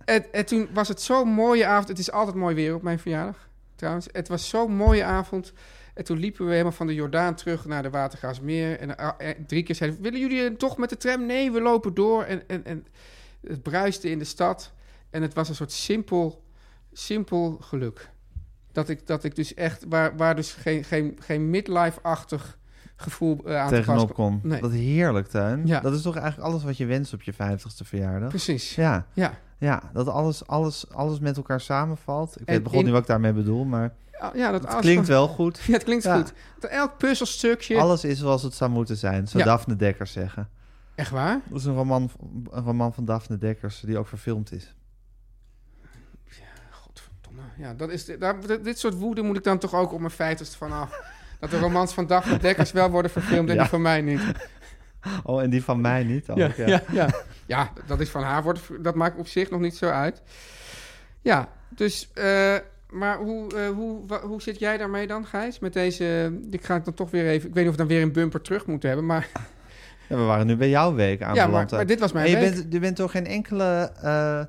Speaker 2: En, en toen was het zo'n mooie avond. Het is altijd mooi weer op mijn verjaardag, trouwens. Het was zo'n mooie avond. En toen liepen we helemaal van de Jordaan terug naar de Watergaasmeer. En eh, eh, drie keer zeiden we, willen jullie toch met de tram? Nee, we lopen door. En, en, en het bruiste in de stad. En het was een soort simpel, simpel geluk. Dat ik, dat ik dus echt, waar, waar dus geen, geen, geen midlife-achtig gevoel eh, aan te pas
Speaker 1: Tegenop kom.
Speaker 2: Nee.
Speaker 1: Dat is heerlijk, Tuin.
Speaker 2: Ja.
Speaker 1: Dat is toch eigenlijk alles wat je wenst op je 50ste verjaardag?
Speaker 2: Precies, ja.
Speaker 1: Ja, ja, dat alles, alles, alles met elkaar samenvalt. Ik weet
Speaker 2: En
Speaker 1: begon
Speaker 2: in-
Speaker 1: niet wat ik daarmee bedoel, maar
Speaker 2: Ah, ja dat
Speaker 1: het
Speaker 2: als-
Speaker 1: klinkt wel goed.
Speaker 2: Ja, het klinkt
Speaker 1: Ja.
Speaker 2: goed. Dat Elk puzzelstukje.
Speaker 1: Alles is zoals het zou moeten zijn, zou
Speaker 2: Ja.
Speaker 1: Daphne Dekkers zeggen.
Speaker 2: Echt waar?
Speaker 1: Dat is een roman, een roman van Daphne Dekkers die ook verfilmd is.
Speaker 2: Godverdomme. Ja, dat is, daar, dit- dit soort woede moet ik dan toch ook op mijn feiters vanaf. Dat de romans van Daphne Dekkers wel worden verfilmd en
Speaker 1: Ja.
Speaker 2: die van mij niet.
Speaker 1: Oh, en die van mij niet ook. Ja,
Speaker 2: ja. ja. Ja, dat is van haar. Wordt, ver- dat maakt op zich nog niet zo uit. Ja, dus... eh, maar hoe, eh, hoe, wa- hoe zit jij daarmee dan, Gijs? Met deze... Ik ga het dan toch weer even... Ik weet niet of we dan weer een bumper terug moeten hebben, maar...
Speaker 1: Ja, we waren nu bij jouw week aan
Speaker 2: Ja, maar, maar dit was mijn
Speaker 1: En je
Speaker 2: week.
Speaker 1: bent, je bent door geen enkele eh,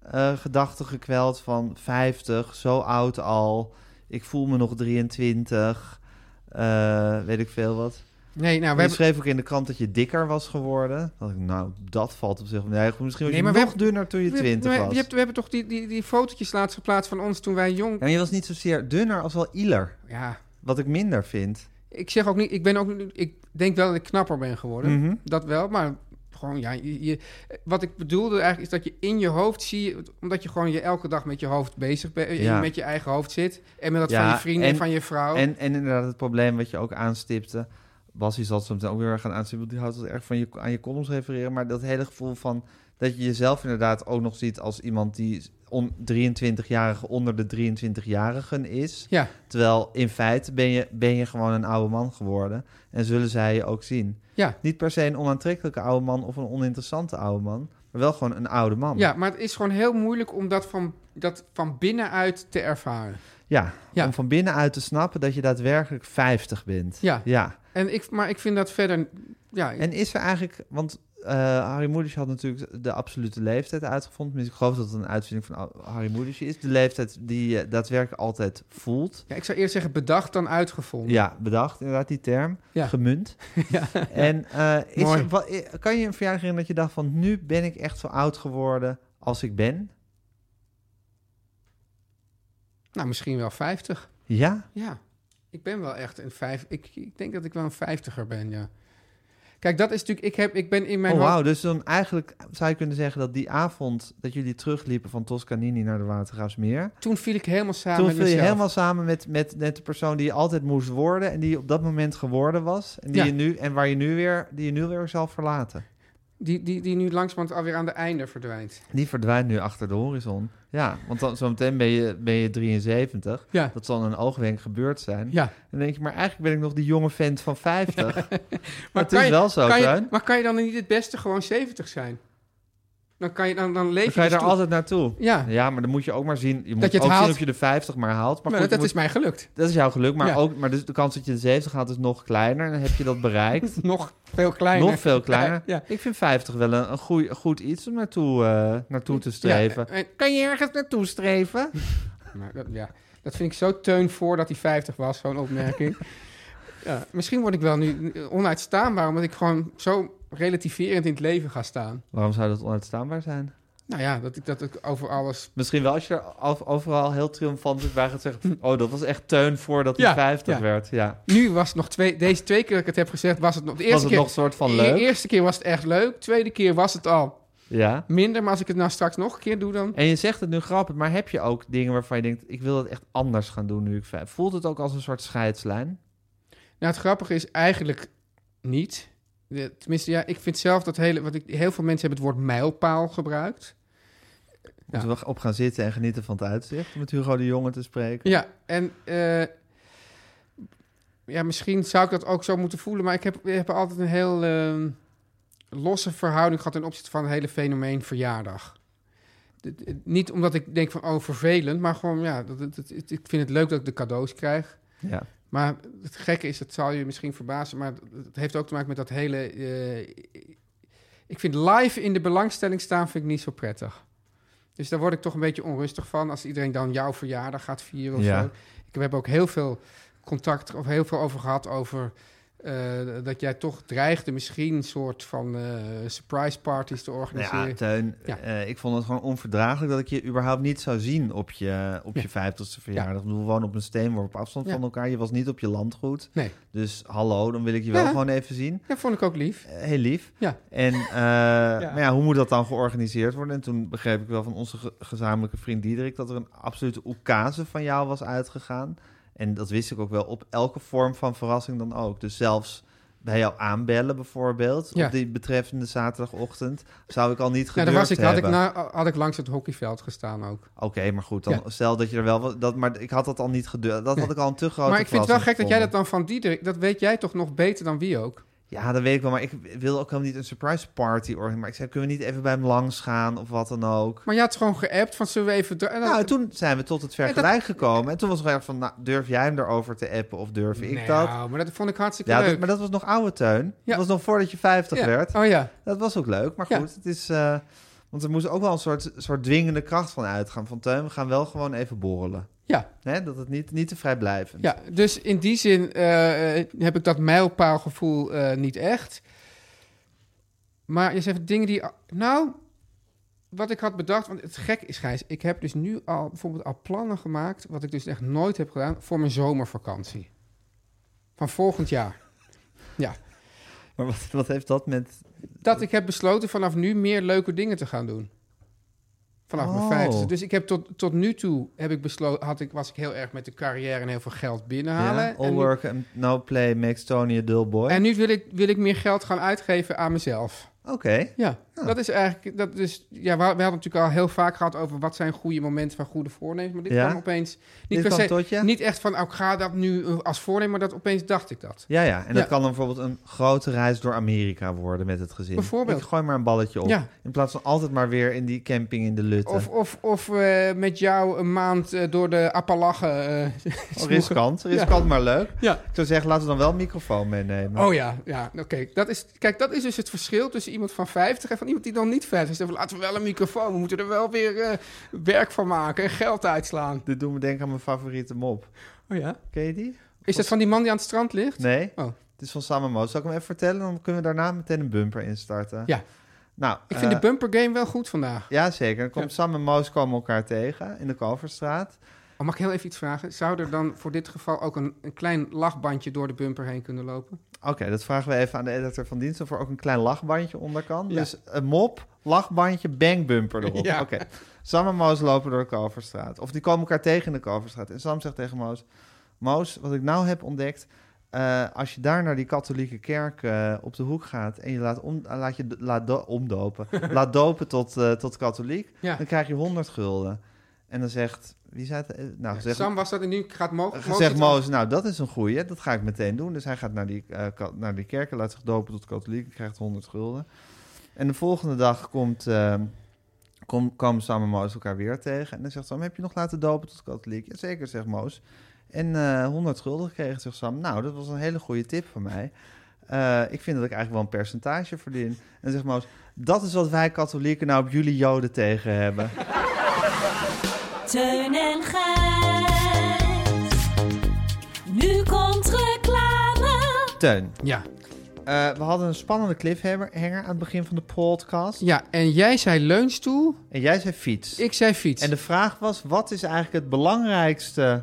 Speaker 1: eh, gedachte gekweld van 50, zo oud al. Ik voel me nog 23. eh, weet ik veel wat.
Speaker 2: Nee, nou, we
Speaker 1: je
Speaker 2: hebben...
Speaker 1: schreef ook in de krant dat je dikker was geworden. Dat ik, nou, dat valt op zich. Nee, goed, misschien was
Speaker 2: Nee, maar
Speaker 1: je
Speaker 2: we
Speaker 1: nog dunner toen je
Speaker 2: we-
Speaker 1: 20
Speaker 2: we-
Speaker 1: was.
Speaker 2: je hebt, we hebben toch die, die, die fotootjes laatst geplaatst van ons toen wij jong...
Speaker 1: Ja, maar je was niet zozeer dunner als wel iler.
Speaker 2: Ja,
Speaker 1: Wat ik minder vind.
Speaker 2: Ik zeg ook niet, ik ben ook, niet- ik denk wel dat ik knapper ben geworden.
Speaker 1: Mhm.
Speaker 2: Dat wel, maar gewoon ja. Je, je- wat ik bedoelde eigenlijk is dat je in je hoofd zie je, omdat je gewoon je elke dag met je hoofd bezig bent, en je
Speaker 1: Ja.
Speaker 2: met je eigen hoofd zit en met dat
Speaker 1: Ja,
Speaker 2: van je vrienden en
Speaker 1: en-
Speaker 2: van je vrouw.
Speaker 1: En, en inderdaad, het probleem wat je ook aanstipte. Bas die zal het zo meteen ook weer gaan aanstippen. Die houdt het erg van je, aan je columns refereren. Maar dat hele gevoel van dat je jezelf inderdaad ook nog ziet als iemand die on- 23-jarige onder de 23-jarigen is.
Speaker 2: ja,
Speaker 1: Terwijl in feite ben je, ben je gewoon een oude man geworden. En zullen zij je ook zien.
Speaker 2: ja,
Speaker 1: Niet per se een onaantrekkelijke oude man of een oninteressante oude man. Maar wel gewoon een oude man.
Speaker 2: ja, maar het is gewoon heel moeilijk om dat van, dat van binnenuit te ervaren.
Speaker 1: Ja,
Speaker 2: Ja.
Speaker 1: om van binnenuit te snappen dat je daadwerkelijk 50 bent.
Speaker 2: Ja.
Speaker 1: ja.
Speaker 2: En ik, maar ik vind dat verder, ja,
Speaker 1: En is er eigenlijk, want eh, Harry Moedisch had natuurlijk de absolute leeftijd uitgevonden. Dus ik geloof dat het een uitvinding van Al- Harry Moedisch is. De leeftijd die je daadwerkelijk altijd voelt.
Speaker 2: ja, ik zou eerst zeggen bedacht dan uitgevonden.
Speaker 1: Ja, bedacht inderdaad, die term.
Speaker 2: Ja.
Speaker 1: Gemunt. En eh, is
Speaker 2: Mooi.
Speaker 1: er- wa- i- kan je een verjaardag herinneren dat je dacht van... nu ben ik echt zo oud geworden als ik ben?
Speaker 2: Nou, misschien wel 50.
Speaker 1: Ja?
Speaker 2: Ja, ik ben wel echt een vijf. Ik, ik denk dat ik wel een vijftiger ben, ja. Kijk, dat is natuurlijk. Ik, heb, ik ben in mijn.
Speaker 1: oh,
Speaker 2: hoofd-
Speaker 1: wauw. Dus dan eigenlijk zou je kunnen zeggen dat die avond... dat jullie terugliepen van Toscanini naar de Watergraafsmeer...
Speaker 2: Toen viel ik helemaal samen
Speaker 1: Toen
Speaker 2: met
Speaker 1: viel je
Speaker 2: mezelf.
Speaker 1: helemaal samen met, met, met de persoon die je altijd moest worden en die je op dat moment geworden was. En, die
Speaker 2: Ja.
Speaker 1: je nu, en waar je nu weer, die je nu weer zal verlaten.
Speaker 2: Die, die, die nu langzamerhand alweer aan de einde verdwijnt.
Speaker 1: Die verdwijnt nu achter de horizon. Ja, want dan, zometeen ben je, ben je 73.
Speaker 2: Ja.
Speaker 1: Dat zal in een oogwenk gebeurd zijn.
Speaker 2: Ja.
Speaker 1: En dan denk je, maar eigenlijk ben ik nog die jonge vent van 50.
Speaker 2: Maar
Speaker 1: het is wel zo,
Speaker 2: kan je,
Speaker 1: Tuin.
Speaker 2: Maar kan je dan niet het beste gewoon 70 zijn? Dan, kan je, dan, dan
Speaker 1: Dan
Speaker 2: leef je.
Speaker 1: ga je
Speaker 2: dus
Speaker 1: daar
Speaker 2: toe.
Speaker 1: altijd naartoe.
Speaker 2: Ja.
Speaker 1: Ja, maar dan moet je ook maar zien. Je moet
Speaker 2: je het
Speaker 1: ook
Speaker 2: haalt.
Speaker 1: zien of je de 50 maar haalt. Maar
Speaker 2: Maar
Speaker 1: goed,
Speaker 2: dat
Speaker 1: je
Speaker 2: is
Speaker 1: moet-
Speaker 2: mij gelukt.
Speaker 1: dat is jouw geluk. Maar,
Speaker 2: Ja.
Speaker 1: ook, maar dus de kans dat je de 70 haalt is nog kleiner. Dan heb je dat bereikt.
Speaker 2: Nog veel kleiner.
Speaker 1: Nog veel kleiner.
Speaker 2: Ja.
Speaker 1: Ik vind 50 wel een, een goeie- goed iets om naartoe, eh, naartoe te streven.
Speaker 2: Ja, en-
Speaker 1: Kan je ergens naartoe streven?
Speaker 2: maar dat, ja. dat vind ik zo teun voor dat hij 50 was, zo'n opmerking. ja, misschien word ik wel nu eh, onuitstaanbaar, omdat ik gewoon zo relativerend in het leven ga staan.
Speaker 1: Waarom zou dat onuitstaanbaar zijn?
Speaker 2: Nou ja, dat ik, dat ik over alles...
Speaker 1: Misschien wel als je er af- overal heel triomfantelijk bij gaat zeggen... oh, dat was echt teun voordat hij
Speaker 2: Ja,
Speaker 1: 50
Speaker 2: ja.
Speaker 1: werd. Ja.
Speaker 2: Nu was het nog twee... Deze twee keer dat ik het heb gezegd, was het nog... De eerste
Speaker 1: Was het
Speaker 2: keer, E-
Speaker 1: nog een soort van
Speaker 2: de
Speaker 1: leuk?
Speaker 2: eerste keer was het echt leuk. Tweede keer was het al
Speaker 1: Ja.
Speaker 2: minder. Maar als ik het nou straks nog een keer doe, dan...
Speaker 1: En je zegt het nu grappig, maar heb je ook dingen waarvan je denkt... ik wil dat echt anders gaan doen nu ik vijf... Voelt het ook als een soort scheidslijn?
Speaker 2: Nou, het grappige is eigenlijk niet. De- Tenminste, ja, ik vind zelf dat hele... Want ik, heel veel mensen hebben het woord mijlpaal gebruipt.
Speaker 1: Moeten we op gaan zitten en genieten van het uitzicht? Om met Hugo de Jonge te spreken?
Speaker 2: Ja, en... eh, ja, misschien zou ik dat ook zo moeten voelen, maar ik heb, ik heb altijd een heel ehm, losse verhouding gehad ten opzichte van het hele fenomeen verjaardag. D- d- Niet omdat ik denk van, oh, vervelend, maar gewoon, ja, dat, dat- dat- ik vind het leuk dat ik de cadeaus krijg.
Speaker 1: Ja.
Speaker 2: Maar het gekke is, dat zal je misschien verbazen, maar het heeft ook te maken met dat hele... eh, ik vind live in de belangstelling staan vind ik niet zo prettig. Dus daar word ik toch een beetje onrustig van als iedereen dan jouw verjaardag gaat vieren of
Speaker 1: Ja.
Speaker 2: zo. Ik heb ook heel veel contact of heel veel over gehad over eh, dat jij toch dreigde misschien een soort van eh, surprise parties te organiseren.
Speaker 1: Nou ja, Teun,
Speaker 2: Ja.
Speaker 1: eh, ik vond het gewoon onverdraaglijk dat ik je überhaupt niet zou zien op je, op
Speaker 2: Ja.
Speaker 1: je 50ste verjaardag. We wonen op een steenworp afstand
Speaker 2: Ja.
Speaker 1: van elkaar. Je was niet op je landgoed.
Speaker 2: Nee,
Speaker 1: Dus hallo, dan wil ik je
Speaker 2: Ja.
Speaker 1: wel gewoon even zien.
Speaker 2: dat vond ik ook lief.
Speaker 1: Eh, heel lief.
Speaker 2: Ja.
Speaker 1: En eh, Maar ja, hoe moet dat dan georganiseerd worden? En toen begreep ik wel van onze ge- gezamenlijke vriend Diederik dat er een absolute oekase van jou was uitgegaan. En dat wist ik ook wel op elke vorm van verrassing dan ook. Dus zelfs bij jou aanbellen bijvoorbeeld,
Speaker 2: Ja.
Speaker 1: op die betreffende zaterdagochtend, zou ik al niet
Speaker 2: Ja,
Speaker 1: gedurfd
Speaker 2: Nou, daar was ik, had, ik
Speaker 1: hebben.
Speaker 2: na, had ik langs het hockeyveld gestaan ook.
Speaker 1: Oké, maar goed, dan
Speaker 2: Ja.
Speaker 1: stel dat je er wel was. Dat, maar ik had dat al niet gedurfd. Dat had ik al een te grote
Speaker 2: maar ik vind het wel gek
Speaker 1: verrassing
Speaker 2: dat jij dat
Speaker 1: gevonden.
Speaker 2: dan van Diederik... Dat weet jij toch nog beter dan wie ook?
Speaker 1: Ja, dat weet ik wel. Maar ik wil ook helemaal niet een surprise party organiseren. Maar ik zei, kunnen we niet even bij hem langs gaan of wat dan ook?
Speaker 2: Maar je had gewoon geappt van zullen we even... dra- en dan-
Speaker 1: Nou, toen zijn we tot het vergelijk gekomen. En toen was er echt van, nou, durf jij hem erover te appen of durf ik
Speaker 2: Nou,
Speaker 1: dat?
Speaker 2: maar dat vond ik hartstikke
Speaker 1: Ja, dat,
Speaker 2: leuk.
Speaker 1: maar dat was nog oude teun.
Speaker 2: Ja.
Speaker 1: Dat was nog voordat je 50
Speaker 2: Ja.
Speaker 1: werd.
Speaker 2: Oh ja.
Speaker 1: Dat was ook leuk, maar
Speaker 2: Ja.
Speaker 1: goed, het is... eh, want er moest ook wel een soort, soort dwingende kracht van uitgaan. Van Teun, we gaan wel gewoon even borrelen.
Speaker 2: Ja,
Speaker 1: Hè? Dat het niet, niet te vrijblijvend.
Speaker 2: ja, dus in die zin eh, eh, heb ik dat mijlpaalgevoel eh, niet echt. Maar je zegt dingen die... Nou, wat ik had bedacht... Want het gek is, Gijs, ik heb dus nu al bijvoorbeeld al plannen gemaakt... wat ik dus echt nooit heb gedaan voor mijn zomervakantie. Van volgend jaar. Ja,
Speaker 1: Maar wat, wat heeft dat met...
Speaker 2: dat ik heb besloten vanaf nu meer leuke dingen te gaan doen. Vanaf
Speaker 1: Oh.
Speaker 2: mijn vijftigste. Dus ik heb tot, tot nu toe heb ik besloten, had ik, was ik heel erg met de carrière en heel veel geld binnenhalen.
Speaker 1: Ja, all
Speaker 2: en, nu,
Speaker 1: work and no play makes Tony a dull boy.
Speaker 2: en nu wil ik, wil ik meer geld gaan uitgeven aan mezelf.
Speaker 1: Oké.
Speaker 2: Ja,
Speaker 1: Ah.
Speaker 2: dat is eigenlijk. Dat is, ja, we, we hadden natuurlijk al heel vaak gehad over wat zijn goede momenten van goede voornemens. Maar dit
Speaker 1: Ja.
Speaker 2: kwam opeens
Speaker 1: Dit
Speaker 2: niet, per
Speaker 1: kwam
Speaker 2: se-
Speaker 1: tot je?
Speaker 2: niet echt van, oh, ik ga dat nu eh, als voornemen, maar dat opeens dacht ik dat.
Speaker 1: Ja, ja. En
Speaker 2: Ja.
Speaker 1: dat kan dan bijvoorbeeld een grote reis door Amerika worden met het gezin.
Speaker 2: Bijvoorbeeld.
Speaker 1: Ik gooi maar een balletje op.
Speaker 2: Ja.
Speaker 1: In plaats van altijd maar weer in die camping in de Lutte.
Speaker 2: Of, of, of eh, met jou een maand eh, door de Appalachen. eh,
Speaker 1: Oh, riskant. Riskant, maar leuk.
Speaker 2: Ja.
Speaker 1: Ik zou zeggen, laten we dan wel een microfoon meenemen.
Speaker 2: Oh ja, ja. Oké, dat is, kijk, dat is dus het verschil tussen iemand van 50 en van iemand die dan niet 50 is. Dan van, laten we wel een microfoon, we moeten er wel weer eh, werk van maken en geld uitslaan.
Speaker 1: Dit doet me denken aan mijn favoriete mop.
Speaker 2: Oh ja.
Speaker 1: Ken je die?
Speaker 2: Is dat van die man die aan het strand ligt?
Speaker 1: Nee.
Speaker 2: Oh.
Speaker 1: Het is van Sam Moos. Zal ik hem even vertellen? Dan kunnen we daarna meteen een bumper instarten.
Speaker 2: Ja.
Speaker 1: Nou,
Speaker 2: Ik vind
Speaker 1: eh,
Speaker 2: de bumper game wel goed vandaag.
Speaker 1: Ja, zeker. Dan komt
Speaker 2: Ja.
Speaker 1: Sam en Moos komen elkaar tegen in de Kalverstraat.
Speaker 2: Oh, mag ik heel even iets vragen? Zou er dan voor dit geval ook een, een klein lachbandje door de bumper heen kunnen lopen?
Speaker 1: Oké, dat vragen we even aan de editor van dienst... of er ook een klein lachbandje onder kan.
Speaker 2: Ja.
Speaker 1: Dus een mop, lachbandje, bangbumper erop.
Speaker 2: Ja.
Speaker 1: Oké. Sam en Moos lopen door de Kalverstraat. Of die komen elkaar tegen in de Kalverstraat. En Sam zegt tegen Moos... Moos, wat ik nou heb ontdekt... eh, als je daar naar die katholieke kerk eh, op de hoek gaat... en je laat, om, eh, laat je d- laat do- omdopen... laat dopen tot, eh, tot katholiek...
Speaker 2: Ja.
Speaker 1: dan krijg je 100 gulden. En dan zegt... Wie zei het? Eh, Nou, zegt,
Speaker 2: Sam was dat en nu gaat Mo. Mo-
Speaker 1: zegt
Speaker 2: zit-
Speaker 1: Moos, nou dat is een goeie, dat ga ik meteen doen. Dus hij gaat naar die, eh, ka- naar die kerken, laat zich dopen tot katholiek, krijgt 100 gulden. En de volgende dag komt, eh, kom, komen Sam en Moos elkaar weer tegen. En dan zegt Sam, heb je nog laten dopen tot katholiek? Jazeker, zegt Moos. En eh, 100 gulden gekregen, zegt Sam. Nou, dat was een hele goede tip van mij. Eh, ik vind dat ik eigenlijk wel een percentage verdien. En dan zegt Moos, dat is wat wij katholieken nou op jullie joden tegen hebben.
Speaker 5: Teun en Gijs. Nu komt reclame.
Speaker 1: Teun,
Speaker 2: Ja.
Speaker 1: eh, we hadden een spannende cliffhanger hanger aan het begin van de podcast.
Speaker 2: ja, en jij zei leunstoel,
Speaker 1: En jij zei fiets.
Speaker 2: ik zei fiets.
Speaker 1: En de vraag was, wat is eigenlijk het belangrijkste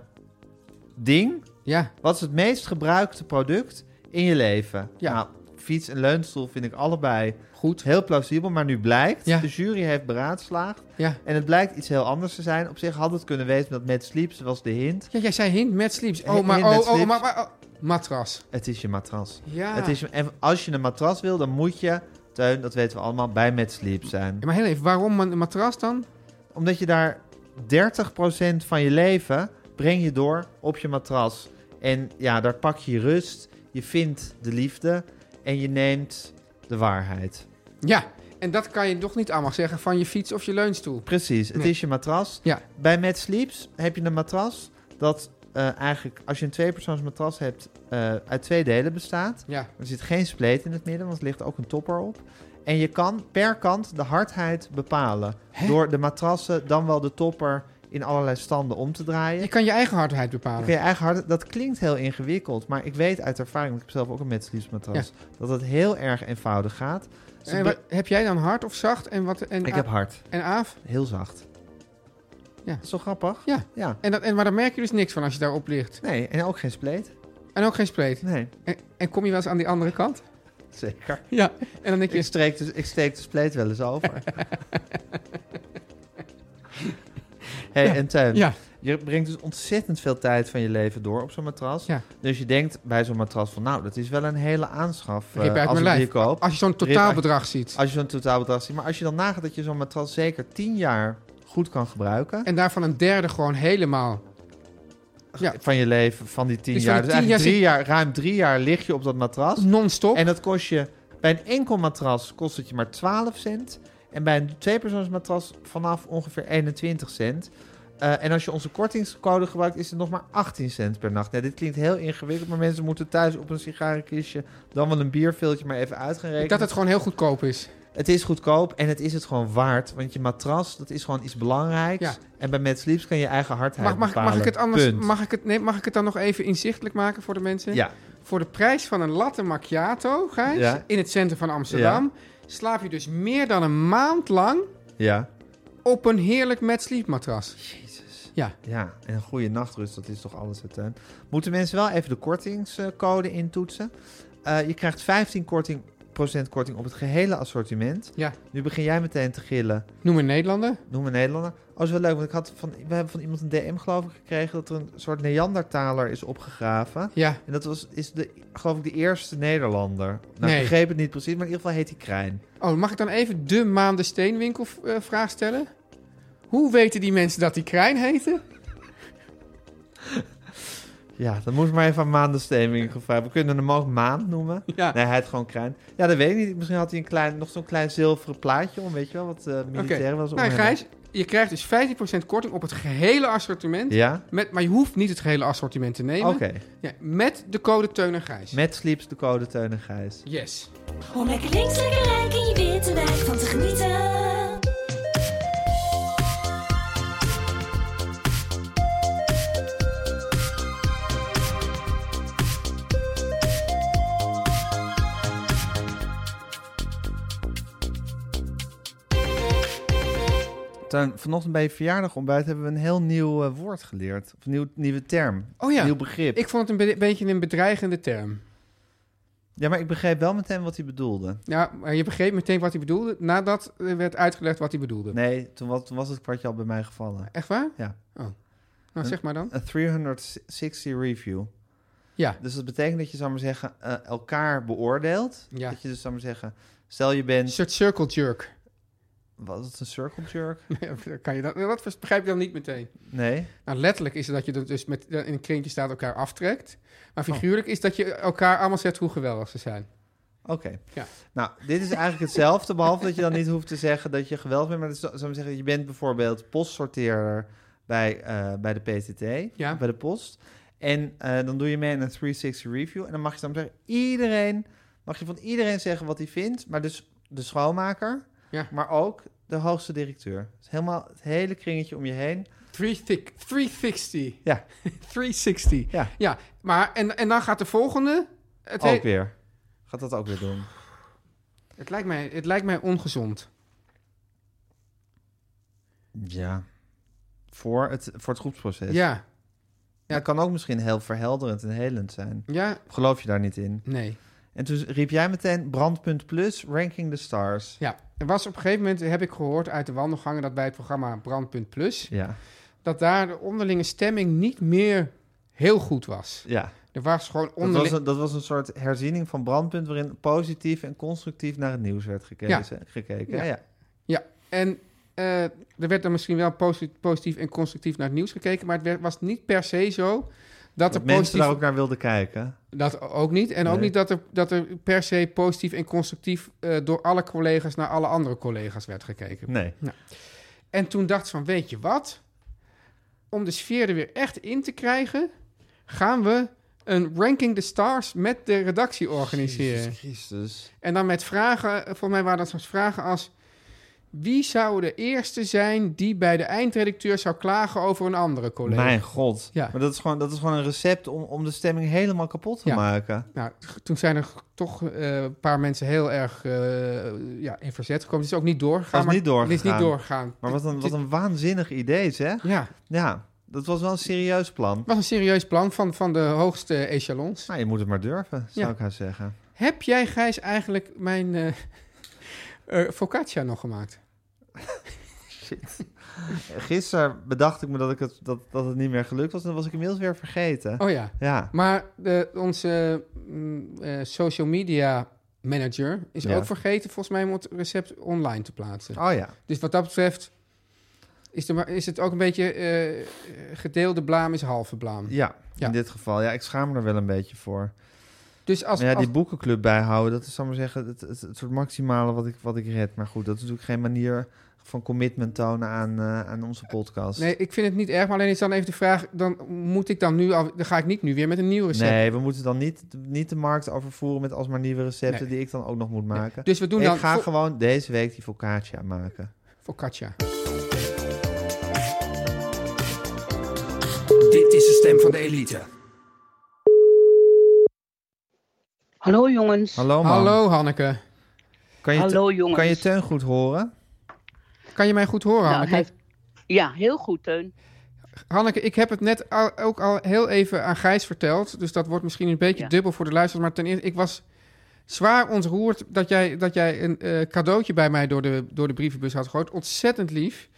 Speaker 1: ding?
Speaker 2: Ja,
Speaker 1: Wat is het meest gebruikte product in je leven?
Speaker 2: Ja.
Speaker 1: Nou, fiets en leunstoel vind ik allebei
Speaker 2: goed.
Speaker 1: heel plausibel. Maar nu blijkt,
Speaker 2: Ja.
Speaker 1: de jury heeft beraadslaagd.
Speaker 2: Ja.
Speaker 1: En het blijkt iets heel anders te zijn. Op zich had het kunnen wezen dat met Sleeps was de hint.
Speaker 2: ja, jij zei hint met sleeps. Oh,
Speaker 1: Hint
Speaker 2: maar,
Speaker 1: met
Speaker 2: oh, oh,
Speaker 1: sleeps.
Speaker 2: maar, maar, oh. matras.
Speaker 1: Het is je matras.
Speaker 2: Ja.
Speaker 1: Het is, je- en als je een matras wil, dan moet je, Teun, dat weten we allemaal, bij met Sleeps zijn.
Speaker 2: Ja, maar heel even, waarom een matras dan?
Speaker 1: Omdat je daar 30% van je leven breng je door op je matras. En ja, daar pak je rust, je vindt de liefde en je neemt de waarheid.
Speaker 2: Ja, en dat kan je toch niet allemaal zeggen van je fiets of je leunstoel.
Speaker 1: Precies, het
Speaker 2: Nee.
Speaker 1: is je matras.
Speaker 2: Ja.
Speaker 1: Bij Mad Sleeps heb je een matras dat eh, eigenlijk, als je een tweepersoonsmatras hebt, eh, uit twee delen bestaat.
Speaker 2: Ja,
Speaker 1: Er zit geen spleet in het midden, want er ligt ook een topper op. En je kan per kant de hardheid bepalen. Door de matrassen, dan wel de topper, in allerlei standen om te draaien.
Speaker 2: je kan je eigen hardheid bepalen.
Speaker 1: Oké, eigen hart, dat klinkt heel ingewikkeld, maar ik weet uit ervaring, want ik heb zelf ook een metseliefsmatras, dat het heel erg eenvoudig gaat. Ze
Speaker 2: En
Speaker 1: be-
Speaker 2: wat, heb jij dan hard of zacht? En, wat, en,
Speaker 1: ik
Speaker 2: A-
Speaker 1: heb hard,
Speaker 2: en Aaf?
Speaker 1: heel zacht.
Speaker 2: Ja.
Speaker 1: Dat is toch grappig?
Speaker 2: Ja.
Speaker 1: ja.
Speaker 2: En dat, en, maar daar merk je dus niks van als je daarop ligt.
Speaker 1: Nee, en ook geen spleet.
Speaker 2: En ook geen spleet.
Speaker 1: Nee,
Speaker 2: En, en kom je wel eens aan die andere kant?
Speaker 1: zeker.
Speaker 2: Ja. En dan denk
Speaker 1: Ik,
Speaker 2: je,
Speaker 1: streek de, ik steek de spleet wel eens over. hey, en Teun,
Speaker 2: ja,
Speaker 1: je brengt dus ontzettend veel tijd van je leven door op zo'n matras.
Speaker 2: Ja.
Speaker 1: Dus je denkt bij zo'n matras van, nou, dat is wel een hele aanschaf eh,
Speaker 2: Rip uit mijn
Speaker 1: als ik
Speaker 2: lijf.
Speaker 1: die koop.
Speaker 2: als je zo'n totaalbedrag ziet.
Speaker 1: Als je zo'n totaalbedrag ziet. Maar als je dan nagaat dat je zo'n matras zeker 10 jaar goed kan gebruiken.
Speaker 2: En daarvan een derde gewoon helemaal. ja.
Speaker 1: Van je leven, van die 10
Speaker 2: Dus van
Speaker 1: jaar.
Speaker 2: die
Speaker 1: Dus
Speaker 2: 10
Speaker 1: eigenlijk
Speaker 2: jaar
Speaker 1: drie jaar, ruim drie jaar lig je op dat matras.
Speaker 2: Non-stop.
Speaker 1: En dat kost je... Bij een enkel matras kost het je maar 12 cent. En bij een tweepersoonsmatras vanaf ongeveer 21 cent. Eh, en als je onze kortingscode gebruikt, is het nog maar 18 cent per nacht. Nou, dit klinkt heel ingewikkeld, maar mensen moeten thuis op een sigarenkistje... dan wel een bierveeltje maar even uit gaan rekenen.
Speaker 2: dat het gewoon heel goedkoop is.
Speaker 1: Het is goedkoop en het is het gewoon waard. Want je matras, dat is gewoon iets belangrijks.
Speaker 2: Ja.
Speaker 1: En bij Mad Sleeps kan je eigen hardheid
Speaker 2: Mag, mag, mag
Speaker 1: bepalen.
Speaker 2: ik het anders?
Speaker 1: Punt.
Speaker 2: Mag ik het, nee, mag ik het dan nog even inzichtelijk maken voor de mensen?
Speaker 1: Ja,
Speaker 2: Voor de prijs van een latte macchiato, Gijs,
Speaker 1: Ja.
Speaker 2: in het centrum van Amsterdam, slaap je dus meer dan een maand lang
Speaker 1: ja,
Speaker 2: op een heerlijk met sleepmatras.
Speaker 1: ja. En een goede nachtrust, dat is toch alles het, hè? Moeten mensen wel even de kortingscode intoetsen. Eh, je krijgt 15 korting, procent korting op het gehele assortiment.
Speaker 2: Ja.
Speaker 1: Nu begin jij meteen te gillen.
Speaker 2: Noem een Nederlander.
Speaker 1: Noem een Nederlander. Oh, dat is wel leuk, want ik had van, we hebben van iemand een DM geloof ik gekregen... dat er een soort Neandertaler is opgegraven...
Speaker 2: Ja.
Speaker 1: En dat was, is de, geloof ik de eerste Nederlander. Nou,
Speaker 2: Nee.
Speaker 1: ik begreep het niet precies, maar in ieder geval heet hij Krijn.
Speaker 2: Oh, mag ik dan even de Maande Steenwinkel eh, vraag stellen? Hoe weten die mensen dat die Krijn heten?
Speaker 1: Ja, dan moest maar even aan maandenstemming gevraagd. We kunnen hem ook Maan noemen.
Speaker 2: Ja.
Speaker 1: Nee, hij heet gewoon Krijn. Ja, dat weet ik niet. Misschien had hij een klein, nog zo'n klein zilveren plaatje om, weet je wel, wat eh
Speaker 2: Oké.
Speaker 1: militair was. om
Speaker 2: Nou,
Speaker 1: hem.
Speaker 2: Gijs, je krijgt dus 15% korting op het gehele assortiment.
Speaker 1: Ja?
Speaker 2: Met, maar je hoeft niet het gehele assortiment te nemen.
Speaker 1: Oké.
Speaker 2: Ja, met de code Teun en Gijs.
Speaker 1: Met Sleeps de code Teun en Gijs.
Speaker 2: Yes.
Speaker 5: Om lekker links, lekker rijk in je witte wijk van te genieten.
Speaker 1: Teun, vanochtend bij je verjaardag ontbijt hebben we een heel nieuw eh, woord geleerd. Of een nieuw, nieuwe term.
Speaker 2: Oh ja.
Speaker 1: Nieuw begrip.
Speaker 2: Ik vond het een be- beetje een bedreigende term.
Speaker 1: Ja, maar ik begreep wel meteen wat hij bedoelde.
Speaker 2: Ja, maar je begreep meteen wat hij bedoelde nadat eh, werd uitgelegd wat hij bedoelde.
Speaker 1: Nee, toen was, toen was het kwartje al bij mij gevallen.
Speaker 2: Echt waar?
Speaker 1: Ja.
Speaker 2: Oh. Nou, zeg maar dan.
Speaker 1: Een 360 review.
Speaker 2: Ja.
Speaker 1: Dus dat betekent dat je, zou maar zeggen, eh, elkaar beoordeelt.
Speaker 2: Ja.
Speaker 1: Dat je dus, zou maar zeggen, stel je
Speaker 2: Een
Speaker 1: bent...
Speaker 2: soort circle jerk.
Speaker 1: Was het een circle jerk?
Speaker 2: kan je dat, dat begrijp je dan niet meteen.
Speaker 1: Nee.
Speaker 2: Nou, letterlijk is het dat je er dus met, in een kringetje staat elkaar aftrekt. Maar
Speaker 1: Oh.
Speaker 2: figuurlijk is dat je elkaar allemaal zegt hoe geweldig ze zijn.
Speaker 1: Oké.
Speaker 2: Ja.
Speaker 1: Nou, dit is eigenlijk hetzelfde, behalve dat je dan niet hoeft te zeggen dat je geweldig bent. Maar dat is, zou maar zeggen, je bent bijvoorbeeld postsorteerder bij, eh, bij de PTT,
Speaker 2: Ja.
Speaker 1: bij de post. En eh, dan doe je mee in een 360 review. En dan mag je dan zeggen, iedereen, mag je van iedereen zeggen wat hij vindt. Maar dus de schoonmaker,
Speaker 2: Ja.
Speaker 1: maar ook de hoogste directeur. Dus helemaal het hele kringetje om je heen.
Speaker 2: 360. 360.
Speaker 1: Ja.
Speaker 2: 360.
Speaker 1: Ja.
Speaker 2: Ja, maar en, en dan gaat de volgende. Het,
Speaker 1: ook
Speaker 2: heet-
Speaker 1: weer. Gaat dat ook weer doen.
Speaker 2: het, lijkt, mij, het lijkt mij ongezond.
Speaker 1: Ja. Voor het, voor het groepsproces.
Speaker 2: Ja.
Speaker 1: Ja, het kan ook misschien heel verhelderend en helend zijn.
Speaker 2: Ja.
Speaker 1: Geloof je daar niet in?
Speaker 2: Nee.
Speaker 1: En toen riep jij meteen brandpunt plus ranking the stars.
Speaker 2: Ja. Er was op een gegeven moment, heb ik gehoord uit de wandelgangen, dat bij het programma Brandpunt Plus,
Speaker 1: Ja,
Speaker 2: dat daar de onderlinge stemming niet meer heel goed was.
Speaker 1: ja.
Speaker 2: Er was gewoon
Speaker 1: Dat, was
Speaker 2: onderling...
Speaker 1: een, dat was een soort herziening van brandpunt waarin positief en constructief naar het nieuws werd gekeken. gekeken.
Speaker 2: Ja.
Speaker 1: Ja. Ja.
Speaker 2: En eh, er werd dan misschien wel posi- positief en constructief naar het nieuws gekeken, maar het werd- was niet per se zo dat
Speaker 1: Dat
Speaker 2: er
Speaker 1: mensen
Speaker 2: positief...
Speaker 1: daar ook naar wilden kijken.
Speaker 2: Dat ook niet. En ook
Speaker 1: Nee.
Speaker 2: niet dat er, dat er per se positief en constructief eh, door alle collega's naar alle andere collega's werd gekeken.
Speaker 1: Nee.
Speaker 2: En toen dacht ze van, weet je wat? Om de sfeer er weer echt in te krijgen, gaan we een Ranking the Stars met de redactie organiseren.
Speaker 1: Christus.
Speaker 2: En dan met vragen, volgens mij waren dat soms vragen als... Wie zou de eerste zijn die bij de eindredacteur zou klagen over een andere collega?
Speaker 1: Mijn god.
Speaker 2: Ja.
Speaker 1: Maar dat is, gewoon, dat is gewoon een recept om, om de stemming helemaal kapot te
Speaker 2: Ja.
Speaker 1: maken.
Speaker 2: Nou, t- toen zijn er toch eh, een paar mensen heel erg eh, ja, in verzet gekomen. Het is ook niet doorgegaan.
Speaker 1: Was
Speaker 2: maar-
Speaker 1: niet doorgegaan.
Speaker 2: Het is niet doorgegaan.
Speaker 1: Maar wat een,
Speaker 2: Het-
Speaker 1: wat een waanzinnig idee, zeg.
Speaker 2: Ja,
Speaker 1: Ja, dat was wel een serieus plan.
Speaker 2: het was een serieus plan van, van de hoogste echelons.
Speaker 1: Maar je moet het maar durven, zou
Speaker 2: Ja.
Speaker 1: ik haar zeggen.
Speaker 2: Heb jij, Gijs, eigenlijk mijn eh eh, focaccia nog gemaakt?
Speaker 1: Gisteren bedacht ik me dat, ik het, dat, dat het niet meer gelukt was. En dat was ik inmiddels weer vergeten.
Speaker 2: Oh ja.
Speaker 1: Ja.
Speaker 2: Maar de, onze mm, eh, social media manager is
Speaker 1: Ja.
Speaker 2: ook vergeten volgens mij om het recept online te plaatsen.
Speaker 1: Oh ja.
Speaker 2: Dus wat dat betreft is, er maar, is het ook een beetje eh, gedeelde blaam is halve blaam.
Speaker 1: ja.
Speaker 2: Ja.
Speaker 1: in dit geval. Ja, ik schaam me er wel een beetje voor.
Speaker 2: Dus als,
Speaker 1: Maar ja,
Speaker 2: als-
Speaker 1: die boekenclub bijhouden, dat is, zal ik maar zeggen, het, het, het soort maximale wat ik, wat ik red. Maar goed, dat is natuurlijk geen manier van commitment tonen aan, eh, aan onze podcast.
Speaker 2: Nee, ik vind het niet erg, maar alleen is dan even de vraag... dan moet ik dan nu al... dan ga ik niet nu weer met een nieuw recept.
Speaker 1: Nee, we moeten dan niet, niet de markt overvoeren met alsmaar nieuwe recepten die ik dan ook nog moet maken.
Speaker 2: Dus we doen
Speaker 1: ik
Speaker 2: dan
Speaker 1: ga
Speaker 2: vo-
Speaker 1: gewoon deze week die focaccia maken.
Speaker 2: focaccia.
Speaker 4: Dit is de stem van de elite.
Speaker 6: Hallo jongens.
Speaker 1: Hallo man.
Speaker 2: Hallo Hanneke.
Speaker 1: Kan je, te-
Speaker 6: Hallo, jongens.
Speaker 1: Kan je teun goed horen?
Speaker 2: Kan je mij goed horen,
Speaker 6: Nou,
Speaker 2: Hanneke?
Speaker 6: hij- Ja, heel goed, Teun.
Speaker 2: Hanneke, ik heb het net al- ook al heel even aan Gijs verteld. Dus dat wordt misschien een beetje
Speaker 6: Ja.
Speaker 2: dubbel voor de luisteraars. Maar ten eerste, ik was zwaar ontroerd dat jij, dat jij een eh, cadeautje bij mij door de, door de brievenbus had gegooid. Ontzettend lief.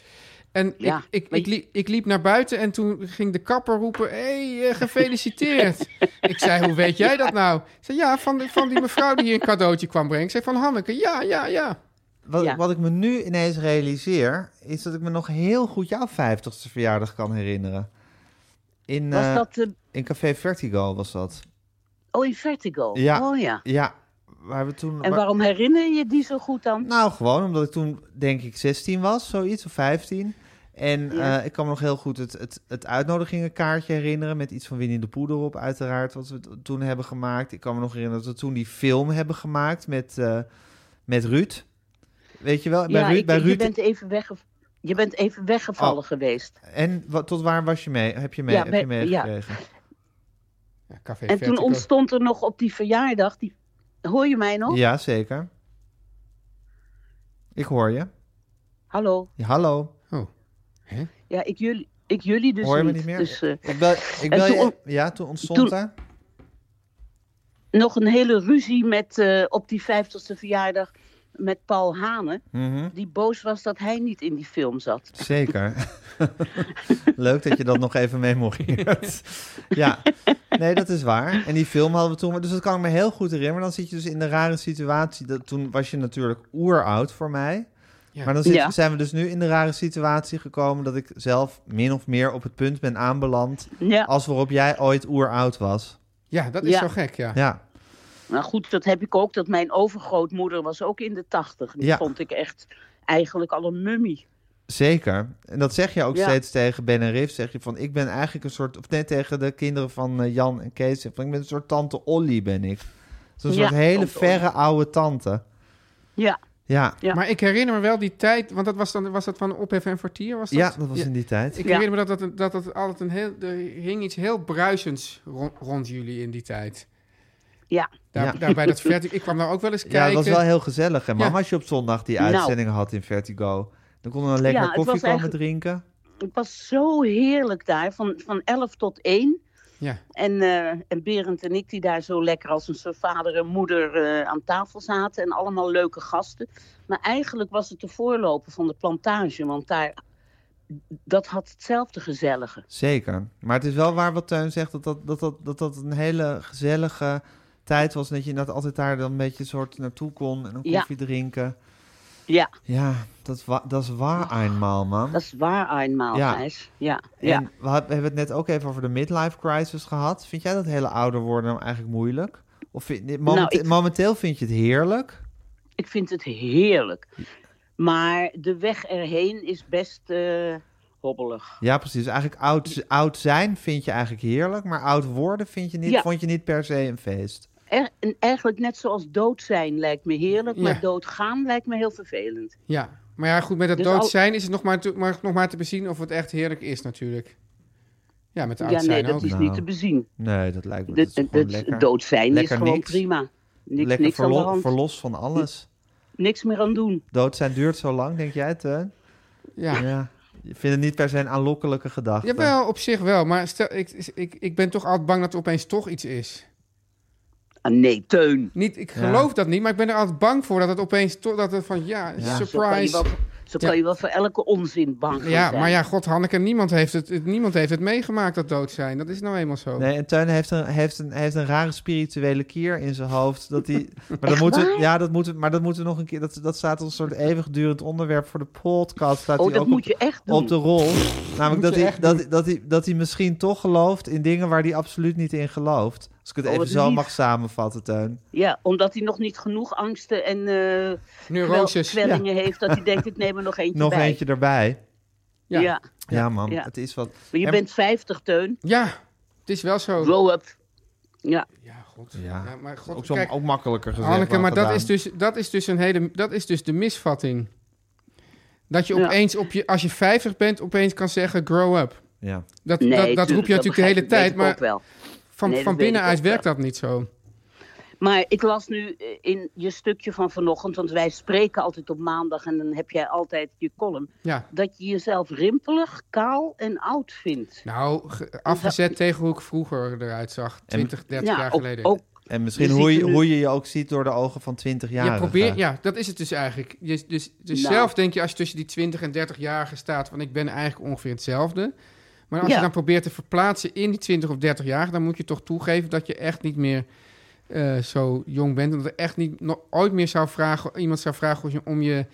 Speaker 2: En
Speaker 6: Ja,
Speaker 2: ik, ik,
Speaker 6: maar
Speaker 2: ik,
Speaker 6: je-
Speaker 2: liep, ik liep naar buiten en toen ging de kapper roepen... hey, eh, gefeliciteerd. ik zei, hoe weet jij dat nou? Ik zei, ja, van, de- van die mevrouw die hier een cadeautje kwam brengen. Ik zei, van Hanneke, ja, ja, ja.
Speaker 1: Wat,
Speaker 6: Ja.
Speaker 1: wat ik me nu ineens realiseer, is dat ik me nog heel goed jouw 50ste verjaardag kan herinneren. In,
Speaker 6: Was
Speaker 1: eh,
Speaker 6: dat... de
Speaker 1: in Café Vertigo was dat.
Speaker 6: oh, in Vertigo.
Speaker 1: Ja.
Speaker 6: Oh ja.
Speaker 1: Ja, waar we toen...
Speaker 6: En
Speaker 1: waar-
Speaker 6: waarom herinner je die zo goed dan?
Speaker 1: Nou, gewoon omdat ik toen denk ik 16 was, zoiets, of 15. En
Speaker 6: Ja.
Speaker 1: eh, ik kan me nog heel goed het, het, het uitnodigingenkaartje herinneren... met iets van Winnie de Poeder op, uiteraard, wat we t- toen hebben gemaakt. Ik kan me nog herinneren dat we toen die film hebben gemaakt met, eh, met Ruud. Weet je wel? Bij
Speaker 6: ja,
Speaker 1: Ruud,
Speaker 6: ik-
Speaker 1: bij
Speaker 6: je,
Speaker 1: Ruud
Speaker 6: bent even wegge... je bent even weggevallen
Speaker 1: Oh.
Speaker 6: geweest.
Speaker 1: En wat, tot waar was je mee? Heb je mee?
Speaker 6: Ja,
Speaker 1: heb
Speaker 6: bij-
Speaker 1: je mee
Speaker 6: ja.
Speaker 1: gekregen?
Speaker 2: ja Café
Speaker 6: En toen
Speaker 2: Vertigo.
Speaker 6: ontstond er nog op die verjaardag... Die... Hoor je mij nog?
Speaker 1: Ja, zeker. Ik hoor je.
Speaker 6: Hallo.
Speaker 1: Ja, hallo.
Speaker 2: Oh.
Speaker 6: Ja, ik jullie, ik jullie dus
Speaker 1: hoor je me
Speaker 6: niet.
Speaker 1: niet meer?
Speaker 6: Dus, eh,
Speaker 1: ik bel, ik bel
Speaker 6: en
Speaker 1: je.
Speaker 6: toen ont-
Speaker 1: ja, toen ontstond
Speaker 6: toen-
Speaker 1: daar.
Speaker 6: nog een hele ruzie met, eh, op die 50ste verjaardag met Paul Hanen.
Speaker 1: Mhm,
Speaker 6: Die boos was dat hij niet in die film zat.
Speaker 1: Zeker. Leuk dat je dat nog even memoreert. ja, nee, dat is waar. En die film hadden we toen. Dus dat kan ik me heel goed herinneren. Maar dan zit je dus in de rare situatie. Dat, toen was je natuurlijk oeroud voor mij.
Speaker 2: Ja.
Speaker 1: Maar dan zit-
Speaker 6: Ja.
Speaker 1: zijn we dus nu in de rare situatie gekomen dat ik zelf min of meer op het punt ben aanbeland
Speaker 6: Ja.
Speaker 1: als waarop jij ooit oeroud was.
Speaker 2: Ja, dat is
Speaker 6: Ja.
Speaker 2: zo gek, ja.
Speaker 1: Ja,
Speaker 6: Nou goed, dat heb ik ook. Dat mijn overgrootmoeder was ook in de tachtig. Die
Speaker 1: Ja.
Speaker 6: vond ik echt eigenlijk al een mummie.
Speaker 1: zeker. En dat zeg je ook
Speaker 6: Ja.
Speaker 1: steeds tegen Ben en Riff. Zeg je van, ik ben eigenlijk een soort... Of nee, tegen de kinderen van eh, Jan en Kees. Zeg van, ik ben een soort tante Olly, ben ik. Zo'n
Speaker 6: Ja,
Speaker 1: soort hele
Speaker 6: tante Olly.
Speaker 1: verre oude tante.
Speaker 6: Ja,
Speaker 1: Ja,
Speaker 6: Ja.
Speaker 2: Maar ik herinner me wel die tijd, want dat was, dan, was dat van ophef en vertier? Was dat?
Speaker 1: ja dat was in die tijd.
Speaker 2: Ik
Speaker 6: Ja.
Speaker 2: herinner me dat, dat, dat, dat altijd een heel, er hing iets heel bruisends rond, rond jullie in die tijd.
Speaker 6: ja.
Speaker 2: Daar,
Speaker 1: Ja.
Speaker 2: daar bij dat vertigo. Ik kwam daar ook wel eens kijken.
Speaker 1: Ja, dat was wel heel gezellig. En
Speaker 2: Ja.
Speaker 1: mama, als je op zondag die
Speaker 6: eh, Nou.
Speaker 1: uitzending had in Vertigo... dan konden we dan lekker
Speaker 6: Ja, het
Speaker 1: koffie
Speaker 6: was
Speaker 1: komen
Speaker 6: eigenlijk-
Speaker 1: drinken.
Speaker 6: Het was zo heerlijk daar, van, van 11 tot 1.
Speaker 2: Ja.
Speaker 6: En, eh, en Berend en ik, die daar zo lekker als een soort vader en moeder eh, aan tafel zaten. En allemaal leuke gasten. Maar eigenlijk was het de voorloper van de plantage. Want daar, dat had hetzelfde gezellige.
Speaker 1: Zeker. Maar het is wel waar wat Teun zegt, dat dat, dat, dat, dat, dat een hele gezellige tijd was. En dat je inderdaad altijd daar dan een beetje soort naartoe kon en een
Speaker 6: Ja.
Speaker 1: koffie drinken.
Speaker 6: Ja,
Speaker 1: Ja, dat, wa- dat is waar eenmaal, man.
Speaker 6: dat is waar eenmaal,
Speaker 1: Ja.
Speaker 6: Gijs. Ja,
Speaker 1: En
Speaker 6: ja.
Speaker 1: we, had- we hebben het net ook even over de midlife crisis gehad. Vind jij dat hele ouder worden nou eigenlijk moeilijk? Of vind, momente-
Speaker 6: Nou, ik-
Speaker 1: momenteel vind je het heerlijk?
Speaker 6: Ik vind het heerlijk.
Speaker 1: Hm.
Speaker 6: Maar de weg erheen is best eh, hobbelig.
Speaker 1: Ja, precies. Eigenlijk oud, oud zijn vind je eigenlijk heerlijk, maar oud worden vind je niet,
Speaker 6: Ja.
Speaker 1: vond je niet per se een feest.
Speaker 6: Er- en eigenlijk net zoals dood zijn lijkt me heerlijk,
Speaker 2: Ja.
Speaker 6: maar doodgaan lijkt me heel vervelend.
Speaker 2: Ja, maar ja, goed, met het
Speaker 6: Dus
Speaker 2: dood
Speaker 6: al-
Speaker 2: zijn is het nog maar, te, maar, nog maar te bezien of het echt heerlijk is natuurlijk. Ja, met de oud
Speaker 6: ja, nee,
Speaker 2: zijn
Speaker 6: dat
Speaker 2: ook.
Speaker 6: is
Speaker 1: Nou,
Speaker 6: niet te bezien.
Speaker 1: Nee, dat lijkt me
Speaker 6: De-
Speaker 1: dat is
Speaker 6: de-
Speaker 1: gewoon
Speaker 6: het
Speaker 1: lekker.
Speaker 6: dood zijn
Speaker 1: Lekker
Speaker 6: is gewoon
Speaker 1: niks.
Speaker 6: prima. Niks,
Speaker 1: lekker
Speaker 6: niks aan de
Speaker 1: verlo-
Speaker 6: hand.
Speaker 1: verlos van alles.
Speaker 6: Niks meer aan doen.
Speaker 1: Dood zijn duurt zo lang, denk jij, Teun?
Speaker 2: Ja.
Speaker 1: Ja. Je vindt het niet per se een aanlokkelijke gedachte.
Speaker 2: Jawel, op zich wel. Maar stel, ik, ik, ik ben toch altijd bang dat er opeens toch iets is.
Speaker 6: Ah, nee, teun.
Speaker 2: Niet, ik
Speaker 1: Ja.
Speaker 2: geloof dat niet, maar ik ben er altijd bang voor dat het opeens toch... Dat het van, ja,
Speaker 6: Zo kan je wel,
Speaker 2: surprise.
Speaker 6: zo
Speaker 2: Ja.
Speaker 6: kan je wel voor elke onzin bang gaan
Speaker 2: Ja,
Speaker 6: zijn.
Speaker 2: maar ja, god, Hanneke, niemand heeft het, het- niemand heeft het meegemaakt dat dood zijn. Dat is nou eenmaal zo.
Speaker 1: Nee, en Teun heeft een, heeft, een, heeft een rare spirituele kier in zijn hoofd. Dat die, maar, dat moeten, we- ja, dat moeten, we- maar dat moeten we nog een keer... Dat, dat staat als een soort eeuwigdurend onderwerp voor de podcast. Staat
Speaker 6: Oh,
Speaker 1: die
Speaker 6: dat
Speaker 1: ook op
Speaker 6: moet je echt doen.
Speaker 1: op de rol. Namelijk dat
Speaker 2: je
Speaker 1: hij,
Speaker 2: echt
Speaker 1: dat, dat, hij, dat hij misschien toch gelooft in dingen waar hij absoluut niet in gelooft. Als ik het
Speaker 6: Oh,
Speaker 1: even
Speaker 6: wat
Speaker 1: zo
Speaker 6: lief.
Speaker 1: mag samenvatten, Teun.
Speaker 6: Ja, omdat hij nog niet genoeg angsten en eh,
Speaker 2: Neuroses.
Speaker 6: kwel- kwellingen heeft... dat hij denkt, ik neem er nog eentje
Speaker 1: Nog
Speaker 6: bij.
Speaker 1: eentje erbij.
Speaker 6: Ja.
Speaker 2: Ja.
Speaker 1: Ja, man,
Speaker 6: ja.
Speaker 1: het is wat.
Speaker 6: Maar je
Speaker 1: En-
Speaker 6: bent 50, Teun.
Speaker 2: Ja, het is wel zo.
Speaker 6: Grow up. Ja,
Speaker 2: Ja, god.
Speaker 1: Ja.
Speaker 2: Ja, maar god,
Speaker 1: Ook, zo,
Speaker 2: kijk,
Speaker 1: ook makkelijker gezegd.
Speaker 2: Anneke,
Speaker 1: dan
Speaker 2: maar dat
Speaker 1: gedaan.
Speaker 2: is, dus, dat is dus een hele, dat is dus de misvatting. Dat je
Speaker 6: Ja.
Speaker 2: opeens, op je, als je 50 bent, opeens kan zeggen grow up.
Speaker 1: Ja.
Speaker 2: Dat,
Speaker 6: nee,
Speaker 2: dat, dat roep
Speaker 6: tuurlijk,
Speaker 2: je natuurlijk de
Speaker 6: begrijp
Speaker 2: hele
Speaker 6: ik, weet
Speaker 2: tijd,
Speaker 6: ik
Speaker 2: maar
Speaker 6: ook wel.
Speaker 2: van,
Speaker 6: Nee, dat
Speaker 2: van
Speaker 6: weet ik
Speaker 2: binnenuit
Speaker 6: ook wel.
Speaker 2: werkt dat niet zo.
Speaker 6: Maar ik las nu eh, in je stukje van vanochtend, want wij spreken altijd op maandag en dan heb jij altijd je column,
Speaker 2: Ja.
Speaker 6: dat je jezelf rimpelig, kaal en oud vindt.
Speaker 2: Nou, ge- afgezet tegen hoe ik vroeger eruit zag, 20, 30 jaar
Speaker 6: ook,
Speaker 2: geleden.
Speaker 6: ook,
Speaker 1: En misschien
Speaker 6: Je
Speaker 1: hoe
Speaker 6: ziet
Speaker 1: je,
Speaker 6: er nu-
Speaker 1: hoe je je ook ziet door de ogen van 20 jaar.
Speaker 2: Ja, probeer, ja, dat is het dus eigenlijk. Je, dus dus
Speaker 6: Nou.
Speaker 2: zelf denk je als je tussen die 20 en 30-jarigen staat... van ik ben eigenlijk ongeveer hetzelfde. Maar als
Speaker 6: Ja.
Speaker 2: je dan probeert te verplaatsen in die 20 of 30-jarigen... dan moet je toch toegeven dat je echt niet meer eh, zo jong bent. En dat er echt niet nog ooit meer zou vragen, iemand zou vragen om je, om je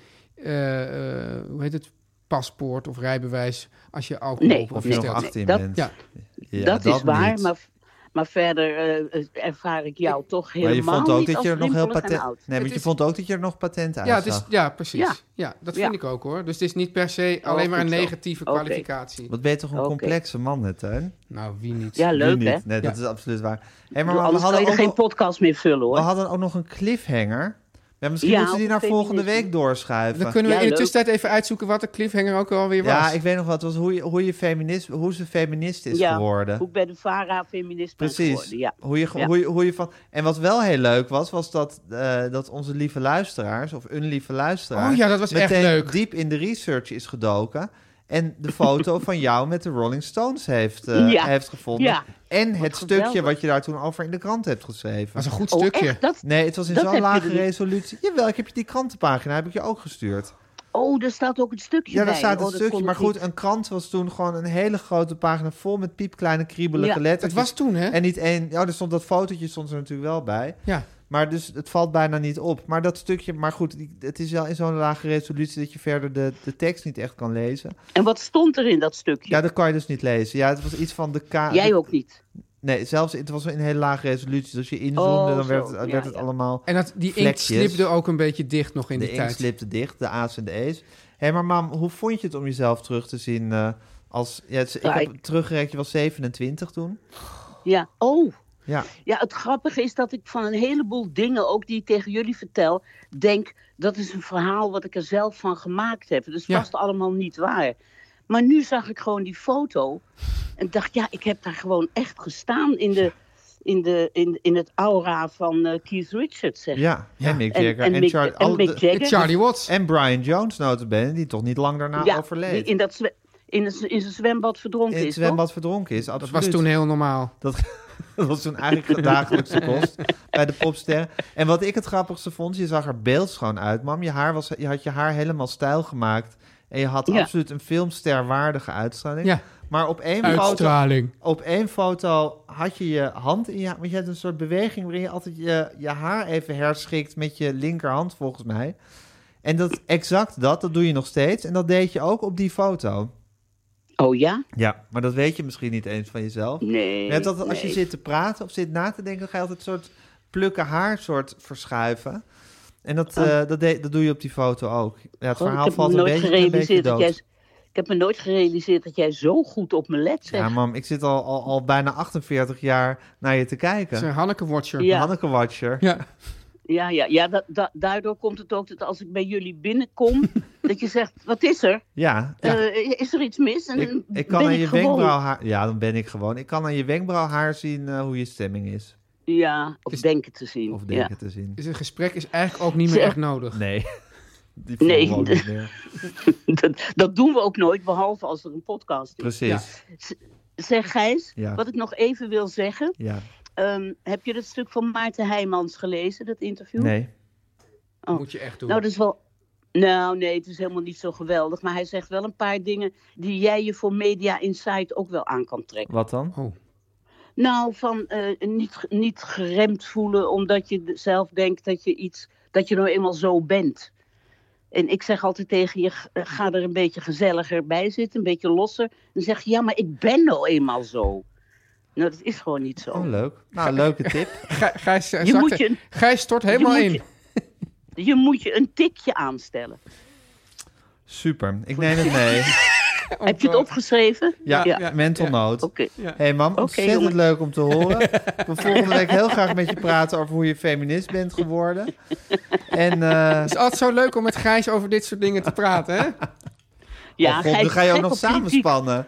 Speaker 2: eh, eh, hoe heet het, paspoort of rijbewijs... als je alcohol
Speaker 6: Nee,
Speaker 2: op
Speaker 1: Of je
Speaker 6: Nee,
Speaker 2: bestelt.
Speaker 1: nog
Speaker 6: dat-
Speaker 1: 18
Speaker 6: dat-
Speaker 1: bent.
Speaker 2: Ja.
Speaker 1: Ja,
Speaker 6: dat, is waar,
Speaker 1: niet.
Speaker 6: maar, maar verder eh, ervaar ik jou toch
Speaker 1: Maar je
Speaker 6: helemaal
Speaker 1: vond ook
Speaker 6: niet
Speaker 1: dat
Speaker 6: als
Speaker 1: je er nog heel
Speaker 6: rimpelig en
Speaker 1: patent.
Speaker 6: oud.
Speaker 1: Nee, want
Speaker 2: Het
Speaker 1: je
Speaker 2: is-
Speaker 1: vond ook dat je er nog patent uit
Speaker 2: Ja, het is,
Speaker 1: zag.
Speaker 2: ja, precies.
Speaker 6: Ja.
Speaker 2: Ja, dat
Speaker 6: Ja.
Speaker 2: vind ik ook hoor. Dus het is niet per se
Speaker 6: Oh,
Speaker 2: alleen maar een
Speaker 6: goed zo.
Speaker 2: negatieve
Speaker 6: Oké.
Speaker 2: kwalificatie.
Speaker 1: Wat ben je toch een
Speaker 6: Oké.
Speaker 1: complexe man, hè, Teun?
Speaker 2: Nou, wie niet?
Speaker 6: Ja, leuk
Speaker 1: Nu
Speaker 6: hè?
Speaker 1: niet. Nee, dat
Speaker 2: Ja.
Speaker 1: is absoluut waar. Hey,
Speaker 6: Maar
Speaker 1: maar we
Speaker 6: anders kan
Speaker 1: hadden
Speaker 6: je er
Speaker 1: ook
Speaker 6: geen
Speaker 1: nog-
Speaker 6: podcast meer vullen
Speaker 1: We
Speaker 6: hoor.
Speaker 1: hadden ook nog een cliffhanger. Ja, misschien
Speaker 6: Ja,
Speaker 1: moeten we die naar
Speaker 6: over
Speaker 1: volgende
Speaker 6: feminisme.
Speaker 1: week doorschuiven.
Speaker 2: Dan kunnen we
Speaker 6: Ja,
Speaker 2: in de
Speaker 6: leuk.
Speaker 2: tussentijd even uitzoeken wat de cliffhanger ook alweer was.
Speaker 1: ja, ik weet nog wat. was hoe, je, hoe, je feminist, hoe ze feminist is
Speaker 6: Ja,
Speaker 1: geworden.
Speaker 6: Hoe ik bij de VARA feminist ben
Speaker 1: Precies.
Speaker 6: geworden. Ja.
Speaker 1: Hoe, je, ge-
Speaker 6: Ja.
Speaker 1: Hoe, je, hoe je van. En wat wel heel leuk was, was dat, eh, dat onze lieve luisteraars, of een lieve luisteraar.
Speaker 2: Oh ja, dat was echt
Speaker 1: meteen
Speaker 2: leuk.
Speaker 1: diep in de research is gedoken. En de foto van jou met de Rolling Stones heeft, eh,
Speaker 6: Ja.
Speaker 1: heeft gevonden.
Speaker 6: Ja.
Speaker 1: En het stukje
Speaker 6: geweldig.
Speaker 1: wat je daar toen over in de krant hebt geschreven.
Speaker 2: Dat is een goed
Speaker 6: Oh,
Speaker 2: stukje.
Speaker 6: echt? Dat,
Speaker 1: Nee, het was in
Speaker 6: Dat
Speaker 1: zo'n
Speaker 6: heb je
Speaker 1: lage
Speaker 6: er niet.
Speaker 1: resolutie. Jawel, ik heb je die krantenpagina heb ik je ook gestuurd.
Speaker 6: oh, daar staat ook een stukje
Speaker 1: Ja,
Speaker 6: bij.
Speaker 1: daar staat
Speaker 6: Oh,
Speaker 1: een
Speaker 6: dat
Speaker 1: stukje.
Speaker 6: kon
Speaker 1: Maar
Speaker 6: ik
Speaker 1: goed,
Speaker 6: niet.
Speaker 1: een krant was toen gewoon een hele grote pagina vol met piepkleine kriebelige
Speaker 6: Ja.
Speaker 1: letters.
Speaker 2: Dat was toen, hè?
Speaker 1: En niet één. Ja, er stond dat fotootje stond er natuurlijk wel bij.
Speaker 2: Ja.
Speaker 1: Maar dus het valt bijna niet op. Maar dat stukje, maar goed, die- het is wel in zo'n lage resolutie dat je verder de, de tekst niet echt kan lezen.
Speaker 6: En wat stond er in dat stukje?
Speaker 1: Ja, dat kan je dus niet lezen. Ja, het was iets van de K.
Speaker 6: Jij
Speaker 1: de-
Speaker 6: ook niet.
Speaker 1: Nee, zelfs het was een hele lage resolutie. Dus als je inzoomde,
Speaker 6: Oh,
Speaker 1: dan werd
Speaker 6: zo.
Speaker 1: het,
Speaker 6: Ja,
Speaker 1: werd het
Speaker 6: ja.
Speaker 1: allemaal.
Speaker 2: En dat, die inkt
Speaker 1: Vlekjes.
Speaker 2: slipte ook een beetje dicht nog in
Speaker 1: de
Speaker 2: die
Speaker 1: inkt
Speaker 2: tijd.
Speaker 1: slipte dicht, de A's en de E's. Hé, maar mam, hoe vond je het om jezelf terug te zien eh, als... Ja, het- ik
Speaker 6: Ja,
Speaker 1: heb teruggerekend, je was 27 toen.
Speaker 6: Ja. Oh.
Speaker 1: Ja,
Speaker 6: Ja, het grappige is dat ik van een heleboel dingen, ook die ik tegen jullie vertel, denk dat is een verhaal wat ik er zelf van gemaakt heb. Dus
Speaker 2: Ja.
Speaker 6: vast allemaal niet waar. Maar nu zag ik gewoon die foto en dacht, ja, ik heb daar gewoon echt gestaan in, de, in, de, in, in het aura van eh, Keith Richards. Zeg.
Speaker 1: ja. en Mick
Speaker 6: En,
Speaker 1: Jagger.
Speaker 6: en, Mick,
Speaker 1: Char-
Speaker 6: en
Speaker 1: al
Speaker 6: Mick
Speaker 1: de-
Speaker 6: Jagger.
Speaker 2: Charlie Watts.
Speaker 1: en Brian Jones notabene, die toch niet lang daarna
Speaker 6: Ja, die
Speaker 1: overleed.
Speaker 6: in, dat zwe- in, het- in zijn zwembad verdronken
Speaker 1: In
Speaker 6: is.
Speaker 1: het zwembad verdronken is,
Speaker 2: Dat
Speaker 1: absoluut.
Speaker 2: was toen heel normaal.
Speaker 1: Dat, dat was toen eigenlijk de dagelijkse kost bij de popsterren. En wat ik het grappigste vond, je zag er beeldschoon uit, mam. Je, haar was, je had je haar helemaal stijl gemaakt. En je had
Speaker 6: Ja.
Speaker 1: absoluut een filmsterwaardige uitstraling.
Speaker 2: Ja.
Speaker 1: Maar op één foto
Speaker 2: Uitstraling.
Speaker 1: op één foto had je je hand in je... Want je hebt een soort beweging waarin je altijd je, je haar even herschikt met je linkerhand, volgens mij. En dat exact dat, dat doe je nog steeds. En dat deed je ook op die foto.
Speaker 6: Oh ja?
Speaker 1: Ja. Maar dat weet je misschien niet eens van jezelf.
Speaker 6: Nee.
Speaker 1: Net dat als je
Speaker 6: nee.
Speaker 1: zit te praten of zit na te denken, ga je altijd een soort plukken haar soort verschuiven. En dat, eh, dat, de- dat doe je op die foto ook. Ja, het
Speaker 6: Oh, ik
Speaker 1: verhaal
Speaker 6: heb me
Speaker 1: valt een
Speaker 6: nooit
Speaker 1: beetje, een beetje
Speaker 6: gerealiseerd dat
Speaker 1: dood.
Speaker 6: jij. Ik heb me nooit gerealiseerd dat jij zo goed op me let, zeg.
Speaker 1: Ja, mam, ik zit al, al, al bijna 48 jaar naar je te
Speaker 2: Het is
Speaker 1: kijken.
Speaker 2: een Hanneke-watcher.
Speaker 6: Ja.
Speaker 1: Hanneke Watcher.
Speaker 2: Ja.
Speaker 6: Ja, ja, ja da- da- daardoor komt het ook dat als ik bij jullie binnenkom, dat je zegt, wat is er?
Speaker 1: Ja, ja.
Speaker 6: Eh, is er iets mis? En
Speaker 1: ik,
Speaker 6: ben
Speaker 1: ik kan aan je
Speaker 6: gewoon-
Speaker 1: wenkbrauwhaar... Ja, dan ben ik gewoon. Ik kan aan je wenkbrauwhaar zien eh, hoe je stemming is.
Speaker 6: Ja, of
Speaker 2: Is-
Speaker 6: denken te zien.
Speaker 1: Of
Speaker 6: ja.
Speaker 1: denken te zien.
Speaker 2: Dus een gesprek is eigenlijk ook niet meer
Speaker 6: Zeg.
Speaker 2: echt nodig.
Speaker 1: Nee. Die
Speaker 6: Nee.
Speaker 1: voelen we ook niet meer.
Speaker 6: dat, dat doen we ook nooit, behalve als er een podcast is.
Speaker 1: Precies.
Speaker 6: Zeg Gijs,
Speaker 1: Ja.
Speaker 6: wat ik nog even wil zeggen.
Speaker 1: Ja.
Speaker 6: ehm, heb je dat stuk van Maarten Heijmans gelezen, dat interview?
Speaker 1: Nee.
Speaker 6: Oh.
Speaker 2: Moet je echt doen.
Speaker 6: Nou, dat is wel. Nou, nee, het is helemaal niet zo geweldig. Maar hij zegt wel een paar dingen die jij je voor Media Insight ook wel aan kan trekken.
Speaker 1: Wat dan?
Speaker 2: Oh,
Speaker 6: Nou, van eh, niet, ge- niet geremd voelen omdat je d- zelf denkt dat je iets. dat je nou eenmaal zo bent. En ik zeg altijd tegen je: g- eh, ga er een beetje gezelliger bij zitten, een beetje losser. Dan zeg je: ja, maar ik ben nou eenmaal zo. Nou, dat is gewoon niet zo.
Speaker 1: Oh, leuk. Nou, leuke tip.
Speaker 2: Gij- Gijs, eh,
Speaker 6: Je moet
Speaker 2: zakte-
Speaker 6: je-
Speaker 2: Gijs stort helemaal
Speaker 6: moet
Speaker 2: in.
Speaker 6: je- Je moet je een tikje aanstellen.
Speaker 1: Super. Ik neem het mee.
Speaker 6: Heb je het opgeschreven?
Speaker 1: Ja,
Speaker 6: Ja.
Speaker 1: mental
Speaker 2: ja.
Speaker 1: note.
Speaker 6: Oké.
Speaker 1: hey mam, ontzettend
Speaker 6: jongens.
Speaker 1: leuk om te horen. Ik wil volgende week heel graag met je praten over hoe je feminist bent geworden. En eh,
Speaker 2: Het is altijd zo leuk om met Gijs over dit soort dingen te praten, hè?
Speaker 6: Ja,
Speaker 1: oh god, nu
Speaker 6: Gijs
Speaker 1: ga je
Speaker 6: is
Speaker 1: ook
Speaker 6: gek
Speaker 1: nog
Speaker 6: op kritiek.
Speaker 1: samenspannen.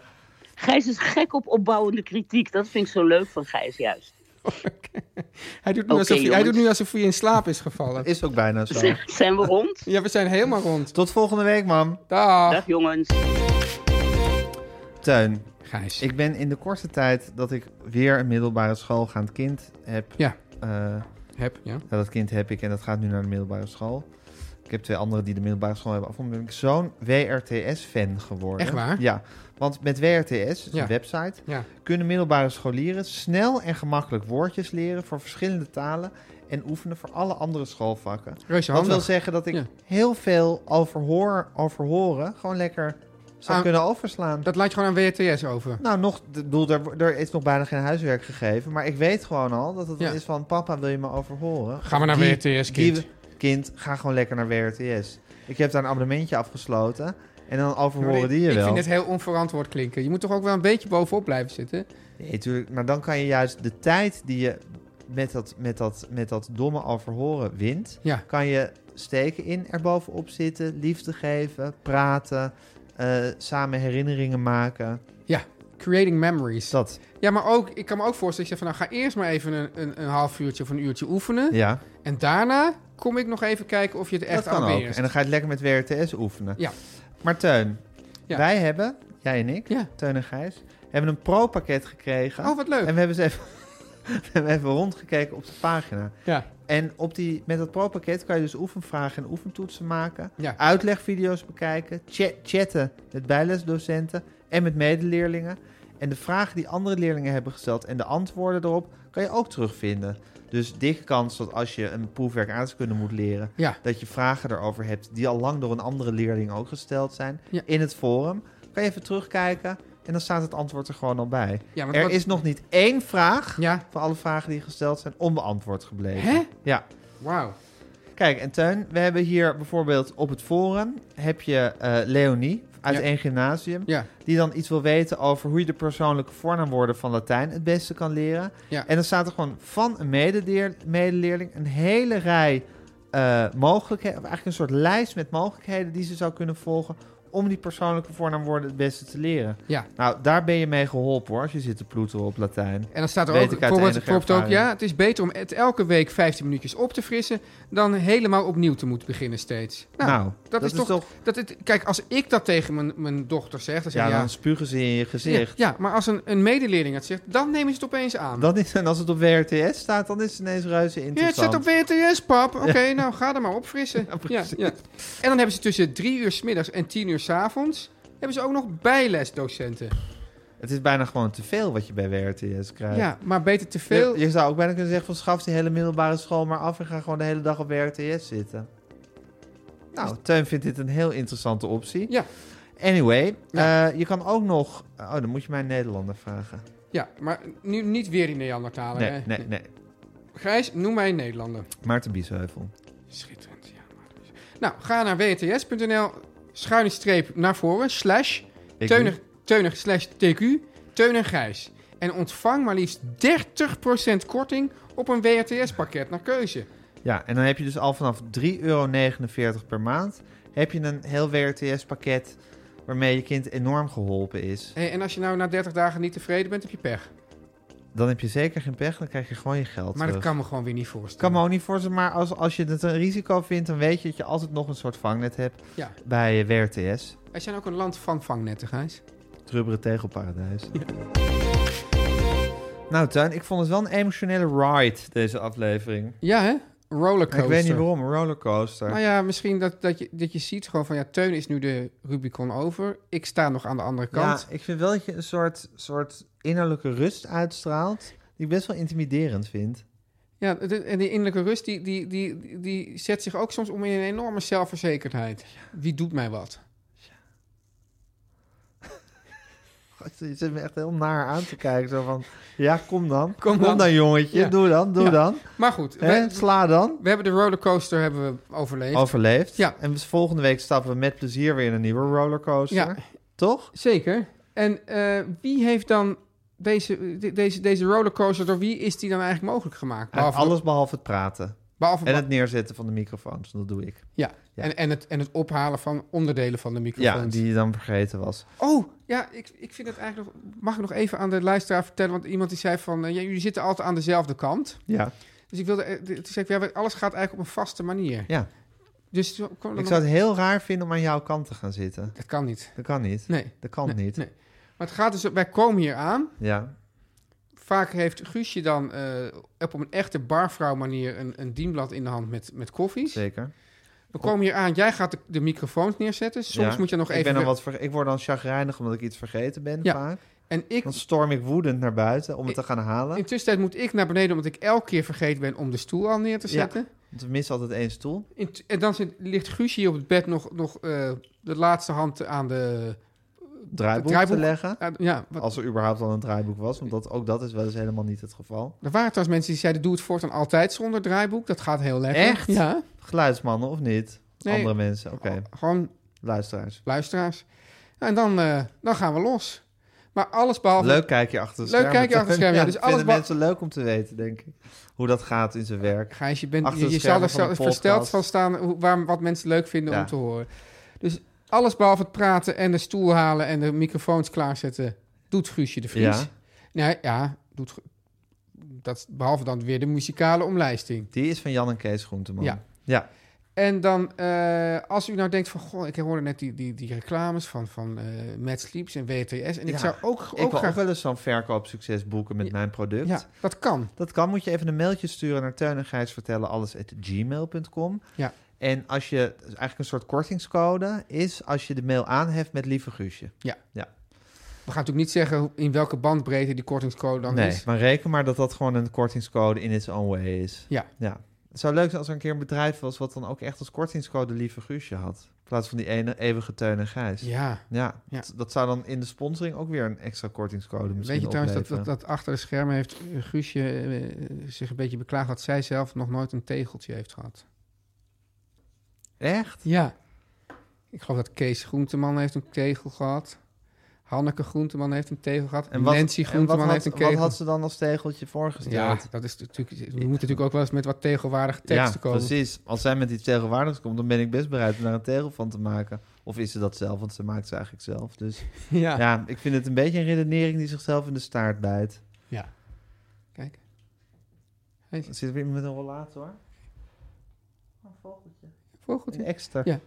Speaker 6: Gijs is gek op opbouwende kritiek. Dat vind ik zo leuk van Gijs juist.
Speaker 2: Hij doet nu,
Speaker 6: Oké,
Speaker 2: alsof, hij- hij
Speaker 6: jongens.
Speaker 2: doet nu alsof hij in slaap is gevallen.
Speaker 1: Is ook bijna zo.
Speaker 6: Zeg, zijn we rond?
Speaker 2: Ja, we zijn helemaal rond.
Speaker 1: Tot volgende week, mam.
Speaker 2: Dag.
Speaker 6: Dag jongens.
Speaker 1: Teun,
Speaker 2: Gijs.
Speaker 1: ik ben in de korte tijd dat ik weer een middelbare schoolgaand kind heb.
Speaker 2: Ja.
Speaker 1: eh,
Speaker 2: Heb, ja.
Speaker 1: ja, dat kind heb ik en dat gaat nu naar de middelbare school. Ik heb twee anderen die de middelbare school hebben afgerond. Ben ik zo'n WRTS-fan geworden.
Speaker 2: Echt waar?
Speaker 1: Ja, want met WRTS,
Speaker 2: Ja.
Speaker 1: een website,
Speaker 2: Ja.
Speaker 1: kunnen middelbare scholieren snel en gemakkelijk woordjes leren voor verschillende talen en oefenen voor alle andere schoolvakken.
Speaker 2: Reuze
Speaker 1: Dat wil
Speaker 2: handig.
Speaker 1: zeggen dat ik
Speaker 2: Ja.
Speaker 1: heel veel overhoor, overhoren gewoon lekker zou
Speaker 2: Ah.
Speaker 1: kunnen overslaan.
Speaker 2: Dat laat je gewoon aan WTS over.
Speaker 1: Nou, nog, ik bedoel, er, er is nog bijna geen huiswerk gegeven, maar ik weet gewoon al dat het
Speaker 2: Ja.
Speaker 1: is van papa wil je me overhoren.
Speaker 2: Ga maar naar
Speaker 1: Die-
Speaker 2: WRTS,
Speaker 1: die-
Speaker 2: kind.
Speaker 1: kind, ga gewoon lekker naar WRTS. Ik heb daar een abonnementje afgesloten en dan overhoren die je
Speaker 2: ik
Speaker 1: wel.
Speaker 2: vind het heel onverantwoord klinken. Je moet toch ook wel een beetje bovenop blijven zitten?
Speaker 1: Nee, tuurlijk. Maar dan kan je juist de tijd die je met dat, met dat, met dat domme overhoren wint,
Speaker 2: Ja.
Speaker 1: kan je steken in erbovenop zitten, liefde geven, praten, eh, samen herinneringen maken.
Speaker 2: Ja, creating memories.
Speaker 1: Dat,
Speaker 2: Ja, maar ook, ik kan me ook voorstellen dat je zegt van... nou, ga eerst maar even een, een, een half uurtje of een uurtje oefenen.
Speaker 1: ja,
Speaker 2: En daarna kom ik nog even kijken of je het echt
Speaker 1: dat kan ook.
Speaker 2: aanbeheerst.
Speaker 1: En dan ga je het lekker met WRTS oefenen.
Speaker 2: Ja.
Speaker 1: Maar Teun,
Speaker 2: Ja.
Speaker 1: wij hebben, jij en ik,
Speaker 2: Ja.
Speaker 1: Teun en Gijs, hebben een pro-pakket gekregen.
Speaker 2: Oh, wat leuk.
Speaker 1: En we hebben ze even, we hebben even rondgekeken op de pagina.
Speaker 2: Ja,
Speaker 1: En op die, met dat pro-pakket kan je dus oefenvragen en oefentoetsen maken.
Speaker 2: ja.
Speaker 1: uitlegvideo's bekijken, cha- chatten met bijlesdocenten en met medeleerlingen. En de vragen die andere leerlingen hebben gesteld en de antwoorden erop kan je ook terugvinden. Dus dikke kans dat als je een proefwerk aardrijkskunde moet leren,
Speaker 2: Ja.
Speaker 1: dat je vragen erover hebt die al lang door een andere leerling ook gesteld zijn
Speaker 2: Ja.
Speaker 1: in het forum. Kan je even terugkijken en dan staat het antwoord er gewoon al bij.
Speaker 2: Ja, want
Speaker 1: er
Speaker 2: wat-
Speaker 1: is nog niet één vraag
Speaker 2: Ja.
Speaker 1: van alle vragen die gesteld zijn onbeantwoord gebleven.
Speaker 2: Hè?
Speaker 1: Ja.
Speaker 2: Wauw.
Speaker 1: Kijk, en Teun, we hebben hier bijvoorbeeld op het forum heb je eh, Leonie uit
Speaker 2: Ja.
Speaker 1: één gymnasium.
Speaker 2: Ja.
Speaker 1: Die dan iets wil weten over hoe je de persoonlijke voornaamwoorden van Latijn het beste kan leren.
Speaker 2: Ja.
Speaker 1: En dan staat er gewoon van een medeleer- medeleerling een hele rij eh, mogelijkheden. of Eigenlijk een soort lijst met mogelijkheden die ze zou kunnen volgen om die persoonlijke voornaamwoorden het beste te leren.
Speaker 2: Ja.
Speaker 1: Nou, daar ben je mee geholpen hoor, als je zit te ploeteren op Latijn.
Speaker 2: En dan staat er
Speaker 1: Weet
Speaker 2: ook,
Speaker 1: ik uit
Speaker 2: bijvoorbeeld,
Speaker 1: enige
Speaker 2: bijvoorbeeld ook,
Speaker 1: ervaring.
Speaker 2: ja, het is beter om het elke week 15 minuutjes op te frissen dan helemaal opnieuw te moeten beginnen steeds. Nou, dat, is, toch, dat het, kijk, als ik dat tegen mijn, mijn dochter zeg, dan zeg
Speaker 1: Ja,
Speaker 2: ik, ja,
Speaker 1: dan spugen ze in je
Speaker 2: ja,
Speaker 1: gezicht.
Speaker 2: ja, maar als een, een medeleerling het zegt, dan nemen ze het opeens aan.
Speaker 1: Dan is, en als het op WRTS staat, dan is het ineens reuze
Speaker 2: ja, het
Speaker 1: interessant.
Speaker 2: staat op WTS, pap. Oké, nou ga er maar opfrissen.
Speaker 1: Ja,
Speaker 2: Ja,
Speaker 1: precies.
Speaker 2: ja. En dan hebben ze tussen drie uur 's middags en tien uur 's avonds hebben ze ook nog bijlesdocenten.
Speaker 1: Het is bijna gewoon te veel wat je bij WRTS krijgt.
Speaker 2: Ja, maar beter te
Speaker 1: Je,
Speaker 2: veel.
Speaker 1: je zou ook bijna kunnen zeggen van schaf die hele middelbare school maar af en ga gewoon de hele dag op WRTS zitten. Nou, Teun vindt dit een heel interessante optie.
Speaker 2: Dus- Ja.
Speaker 1: Anyway,
Speaker 2: Ja.
Speaker 1: eh, je kan ook nog... Oh, dan moet je mij een Nederlander vragen.
Speaker 2: Ja, maar nu niet weer die Neandertaler.
Speaker 1: Nee,
Speaker 2: hè?
Speaker 1: nee, nee.
Speaker 2: Gijs, noem mij een Nederlander.
Speaker 1: Maarten Biesheuvel.
Speaker 2: Schitterend, ja. maar- Nou, ga naar wts.nl, schuine streep naar voren, slash,
Speaker 1: Ik
Speaker 2: teunig, teunig slash tq, teun en gijs. En ontvang maar liefst 30% korting op een WRTS-pakket naar keuze.
Speaker 1: Ja, en dan heb je dus al vanaf 3,49 euro per maand... heb je een heel WRTS-pakket waarmee je kind enorm geholpen is.
Speaker 2: Hey, en als je nou na 30 dagen niet tevreden bent, heb je pech.
Speaker 1: Dan heb je zeker geen pech, dan krijg je gewoon je geld
Speaker 2: Maar dat
Speaker 1: terug.
Speaker 2: kan me gewoon weer niet
Speaker 1: kan
Speaker 2: voorstellen.
Speaker 1: me ook niet voorstellen, maar als, als je het een risico vindt... dan weet je dat je altijd nog een soort vangnet hebt
Speaker 2: Ja.
Speaker 1: bij eh, WRTS.
Speaker 2: Wij zijn ook een land van vangnetten, Gijs.
Speaker 1: Het rubberen tegelparadijs. Nou, Tuin, ik vond het wel een emotionele ride, deze aflevering.
Speaker 2: Ja, hè? Rollercoaster.
Speaker 1: Ik weet niet waarom, een rollercoaster.
Speaker 2: Nou ja, misschien dat, dat, je, dat je ziet gewoon van ja, Teun is nu de Rubicon over. Ik sta nog aan de andere
Speaker 1: Ja,
Speaker 2: kant.
Speaker 1: ik vind wel dat je een soort, soort innerlijke rust uitstraalt... die ik best wel intimiderend vind.
Speaker 2: Ja, de- en die innerlijke rust die, die, die, die zet zich ook soms om in een enorme zelfverzekerdheid. Wie doet mij wat?
Speaker 1: God, Je zit me echt heel naar aan te kijken. Zo van, ja, kom dan.
Speaker 2: Kom dan.
Speaker 1: jongetje.
Speaker 2: Ja.
Speaker 1: Doe dan, doe
Speaker 2: Ja.
Speaker 1: dan.
Speaker 2: Maar goed,
Speaker 1: Hè?
Speaker 2: we,
Speaker 1: Sla dan.
Speaker 2: we hebben de rollercoaster hebben we overleefd.
Speaker 1: Overleefd.
Speaker 2: Ja.
Speaker 1: En dus volgende week stappen we met plezier weer in een nieuwe rollercoaster.
Speaker 2: Ja.
Speaker 1: Toch?
Speaker 2: Zeker. En eh, wie heeft dan deze, de- deze, deze rollercoaster, door wie is die dan eigenlijk mogelijk gemaakt?
Speaker 1: En alles behalve het praten.
Speaker 2: behalve,
Speaker 1: En het neerzetten van de microfoons. Dat doe ik.
Speaker 2: ja.
Speaker 1: Ja.
Speaker 2: En, en, het, en het ophalen van onderdelen van de microfoon.
Speaker 1: Ja, die je dan vergeten was.
Speaker 2: Oh, ja, ik, ik vind het eigenlijk nog... Mag ik nog even aan de luisteraar vertellen? Want iemand die zei van... eh, ja, jullie zitten altijd aan dezelfde kant.
Speaker 1: Ja.
Speaker 2: Dus ik wilde... eh, de- Toen zei ik, ja, alles gaat eigenlijk op een vaste manier.
Speaker 1: ja.
Speaker 2: Dus toen kwam er
Speaker 1: Ik
Speaker 2: nog-
Speaker 1: zou het heel raar vinden om aan jouw kant te gaan zitten.
Speaker 2: Dat kan niet.
Speaker 1: Dat kan niet.
Speaker 2: Nee.
Speaker 1: Dat kan
Speaker 2: nee,
Speaker 1: niet.
Speaker 2: nee. Maar het gaat dus... Wij komen hier aan.
Speaker 1: Ja.
Speaker 2: Vaak heeft Guusje dan eh, op een echte barvrouw manier... een, een dienblad in de hand met, met koffies.
Speaker 1: Zeker.
Speaker 2: We komen hier aan. Jij gaat de, de microfoons neerzetten. Soms
Speaker 1: Ja.
Speaker 2: moet je nog
Speaker 1: Ik,
Speaker 2: even...
Speaker 1: ben dan wat ver- ik word dan chagrijnig omdat ik iets vergeten ben
Speaker 2: Ja.
Speaker 1: vaak.
Speaker 2: En ik...
Speaker 1: Dan storm ik woedend naar buiten om het te gaan halen.
Speaker 2: Intussen tijd moet ik naar beneden... omdat ik elke keer vergeten ben om de stoel al neer te
Speaker 1: Ja.
Speaker 2: zetten.
Speaker 1: Want we missen altijd één stoel.
Speaker 2: In t- en dan zit, ligt Guusje hier op het bed nog, nog eh, de laatste hand aan de...
Speaker 1: Draaiboek,
Speaker 2: draaiboek.
Speaker 1: te leggen.
Speaker 2: aan- ja, wat,
Speaker 1: Als er überhaupt al een draaiboek was. Want dat, ook dat is wel eens helemaal niet het geval.
Speaker 2: er waren trouwens mensen die zeiden... doe het voortaan altijd zonder draaiboek. Dat gaat heel lekker.
Speaker 1: Echt?
Speaker 2: Ja.
Speaker 1: Geluidsmannen of niet?
Speaker 2: Nee. Oh.
Speaker 1: Andere mensen. Oké,
Speaker 2: Gewoon
Speaker 1: luisteraars.
Speaker 2: luisteraars. Nou, en dan, eh, dan gaan we los. Maar alles behalve...
Speaker 1: Leuk kijkje achter de
Speaker 2: Leuk
Speaker 1: schermen.
Speaker 2: kijkje achter de schermen, ja. Dus
Speaker 1: dat
Speaker 2: alles
Speaker 1: vinden
Speaker 2: wat-
Speaker 1: mensen leuk om te weten, denk ik. Hoe dat gaat in zijn werk.
Speaker 2: Gijs, je, bent,
Speaker 1: Achter
Speaker 2: je,
Speaker 1: de
Speaker 2: je zal
Speaker 1: schermen
Speaker 2: er
Speaker 1: van
Speaker 2: zo-
Speaker 1: de
Speaker 2: versteld
Speaker 1: podcast.
Speaker 2: van staan... Hoe, waar, wat mensen leuk vinden
Speaker 1: Ja.
Speaker 2: om te horen. Dus alles behalve het praten en de stoel halen... en de microfoons klaarzetten... doet Guusje de Vries.
Speaker 1: Ja.
Speaker 2: Nee, ja, doet... Gu- Dat, behalve dan weer de muzikale omlijsting.
Speaker 1: Die is van Jan en Kees Groenteman.
Speaker 2: Ja.
Speaker 1: Ja.
Speaker 2: En dan, eh, als u nou denkt van... Goh, ik hoorde net die, die, die reclames van, van eh Mad Sleeps en WTS. En ik
Speaker 1: Ja,
Speaker 2: zou ook, ook
Speaker 1: Ik wil ook
Speaker 2: graag...
Speaker 1: wel eens zo'n verkoopsucces boeken met mijn product.
Speaker 2: Ja, dat kan.
Speaker 1: Dat kan. Moet je even een mailtje sturen naar Teun en Gijs vertellen alles at gmail.com.
Speaker 2: Ja.
Speaker 1: En als je, dus eigenlijk een soort kortingscode is als je de mail aanheft met lieve Guusje.
Speaker 2: We gaan natuurlijk niet zeggen hoe- in welke bandbreedte die kortingscode dan
Speaker 1: nee,
Speaker 2: is.
Speaker 1: maar reken maar dat dat gewoon een kortingscode in its own way is.
Speaker 2: Ja.
Speaker 1: ja. Het zou leuk zijn als er een keer een bedrijf was... wat dan ook echt als kortingscode lieve Guusje had. In plaats van die ene eeuwige Teun en Gijs.
Speaker 2: Ja.
Speaker 1: Ja,
Speaker 2: Ja.
Speaker 1: Dat, dat zou dan in de sponsoring ook weer een extra kortingscode misschien
Speaker 2: Weet je trouwens dat, dat,
Speaker 1: opleveren.
Speaker 2: dat achter de schermen heeft eh, Guusje eh, zich een beetje beklaagd... dat zij zelf nog nooit een tegeltje heeft gehad.
Speaker 1: Echt?
Speaker 2: Ja. Ik geloof dat Kees Groenteman heeft een tegel gehad. Hanneke Groenteman heeft een tegel gehad. En Nancy
Speaker 1: en wat
Speaker 2: Groenteman
Speaker 1: had,
Speaker 2: heeft een
Speaker 1: wat
Speaker 2: kegel.
Speaker 1: had ze dan als tegeltje
Speaker 2: Ja,
Speaker 1: voorgesteld?
Speaker 2: dat is natuurlijk. We moeten natuurlijk ook wel eens met wat tegelwaardige
Speaker 1: Ja,
Speaker 2: teksten komen.
Speaker 1: precies. Als zij met iets tegelwaardigs komt... dan ben ik best bereid om daar een tegel van te maken. Of is ze dat zelf? Want ze maakt ze eigenlijk zelf. Dus
Speaker 2: Ja.
Speaker 1: ja, ik vind het een beetje een redenering... die zichzelf in de staart bijt.
Speaker 2: Kijk.
Speaker 1: Er Zit weer met een rollator? Een vogeltje. Een
Speaker 2: Vogeltje.
Speaker 1: extra.
Speaker 2: Ja.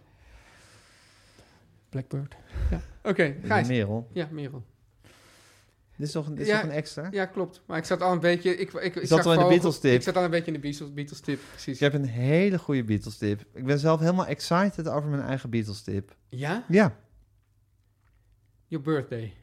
Speaker 2: Blackbird. Ja. Oké,
Speaker 1: Een
Speaker 2: Gijs.
Speaker 1: merel.
Speaker 2: Ja, Merel.
Speaker 1: Dit is nog een, dit is
Speaker 2: Ja,
Speaker 1: nog een extra?
Speaker 2: Ja, klopt. Maar ik zat al een beetje... Ik, ik,
Speaker 1: zat
Speaker 2: ik zag
Speaker 1: al in de
Speaker 2: vogels.
Speaker 1: Beatles-tip.
Speaker 2: Ik zat al een beetje in de Beatles, Beatles tip, precies.
Speaker 1: Ik heb een hele goede Beatles tip. Ik ben zelf helemaal excited over mijn eigen Beatles tip.
Speaker 2: Ja?
Speaker 1: Ja.
Speaker 2: Your birthday.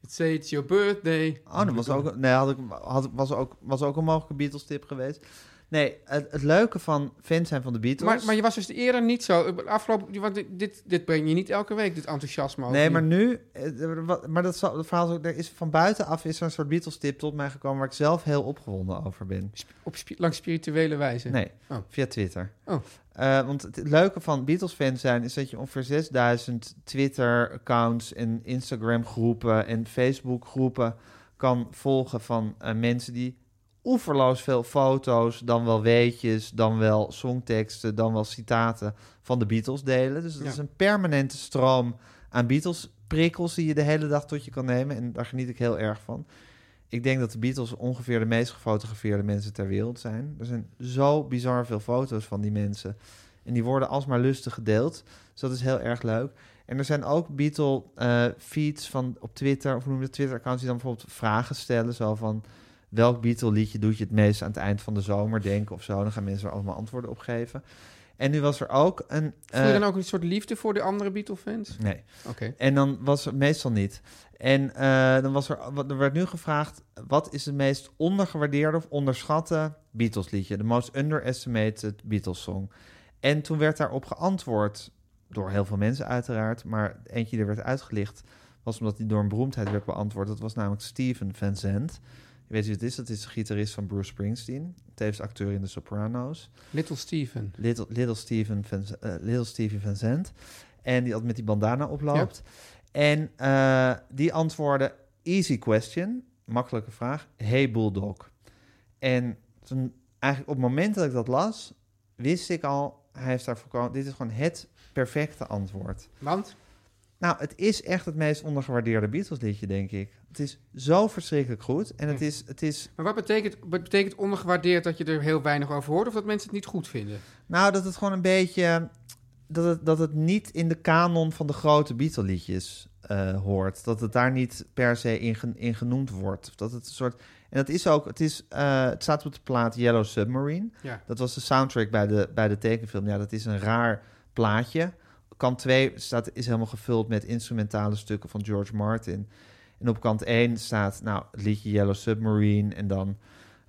Speaker 2: It say it's your birthday.
Speaker 1: Oh, dat was ook, nee, had ik, had, was, ook, was ook een mogelijke Beatles tip geweest. Nee, het, het leuke van fan zijn van de Beatles...
Speaker 2: Maar, maar je was dus eerder niet zo. Afgelopen, want dit- dit, dit breng je niet elke week, dit enthousiasme. over.
Speaker 1: Nee, maar nu, eh, wat- maar dat, zal- dat verhaal, is ook- er is van buitenaf is er een soort Beatles-tip tot mij gekomen waar ik zelf heel opgewonden over ben.
Speaker 2: Op, spi- langs spirituele wijze.
Speaker 1: Nee,
Speaker 2: Oh.
Speaker 1: via Twitter.
Speaker 2: Oh.
Speaker 1: Eh, want het leuke van Beatles-fans zijn is dat je ongeveer 6000 Twitter-accounts en Instagram-groepen en Facebook-groepen kan volgen van eh, mensen die oeverloos veel foto's, dan wel weetjes, dan wel songteksten, dan wel citaten van de Beatles delen. Dus dat
Speaker 2: Ja.
Speaker 1: is een permanente stroom aan Beatles-prikkels die je de hele dag tot je kan nemen. En daar geniet ik heel erg van. Ik denk dat de Beatles ongeveer de meest gefotografeerde mensen ter wereld zijn. Er zijn zo bizar veel foto's van die mensen. En die worden alsmaar lustig gedeeld. Dus dat is heel erg leuk. En er zijn ook Beatle-feeds van op Twitter, of hoe noem je dat, Twitter-accounts... die dan bijvoorbeeld vragen stellen, zo van... welk Beatle-liedje doet je het meest aan het eind van de zomer denken of zo? Dan gaan mensen er allemaal antwoorden op geven. En nu was er ook een...
Speaker 2: Voel je
Speaker 1: eh,
Speaker 2: dan ook een soort liefde voor de andere Beatle-fans?
Speaker 1: Nee.
Speaker 2: Oké.
Speaker 1: En dan was er meestal niet. En eh, dan was er, wat- er werd nu gevraagd: wat is het meest ondergewaardeerde of onderschatte Beatles liedje? De most underestimated Beatles song. En toen werd daarop geantwoord door heel veel mensen, uiteraard. Maar eentje die er werd uitgelicht was omdat die door een beroemdheid werd beantwoord. Dat was namelijk Steven Van Zandt. Je weet wie het is? Dat is de gitarist van Bruce Springsteen. Tevens acteur in The Sopranos.
Speaker 2: Little Steven.
Speaker 1: Little, Little, Steven Van, eh, Little Stevie Vincent. En die altijd met die bandana oploopt. En eh, die antwoordde: Easy question, makkelijke vraag. Hey Bulldog. En toen, eigenlijk op het moment dat ik dat las, wist ik al: hij heeft daar voorkomen. Dit is gewoon het perfecte antwoord.
Speaker 2: Want?
Speaker 1: Nou, het is echt het meest ondergewaardeerde Beatles-liedje, denk ik. Het is zo verschrikkelijk goed. En het is, het is
Speaker 2: Maar wat betekent, wat betekent ondergewaardeerd dat je er heel weinig over hoort of dat mensen het niet goed vinden?
Speaker 1: Nou, dat het gewoon een beetje. Dat het, dat het niet in de kanon van de grote Beatle-liedjes eh, hoort. Dat het daar niet per se in, gen- in genoemd wordt. Of dat het een soort. En dat is ook. Het, is, eh, het staat op de plaat Yellow Submarine.
Speaker 2: Ja.
Speaker 1: Dat was de soundtrack bij de, bij de tekenfilm. Ja, dat is een raar plaatje. Kant 2 staat, is helemaal gevuld met instrumentale stukken van George Martin. En op kant 1 staat nou, het liedje Yellow Submarine. En dan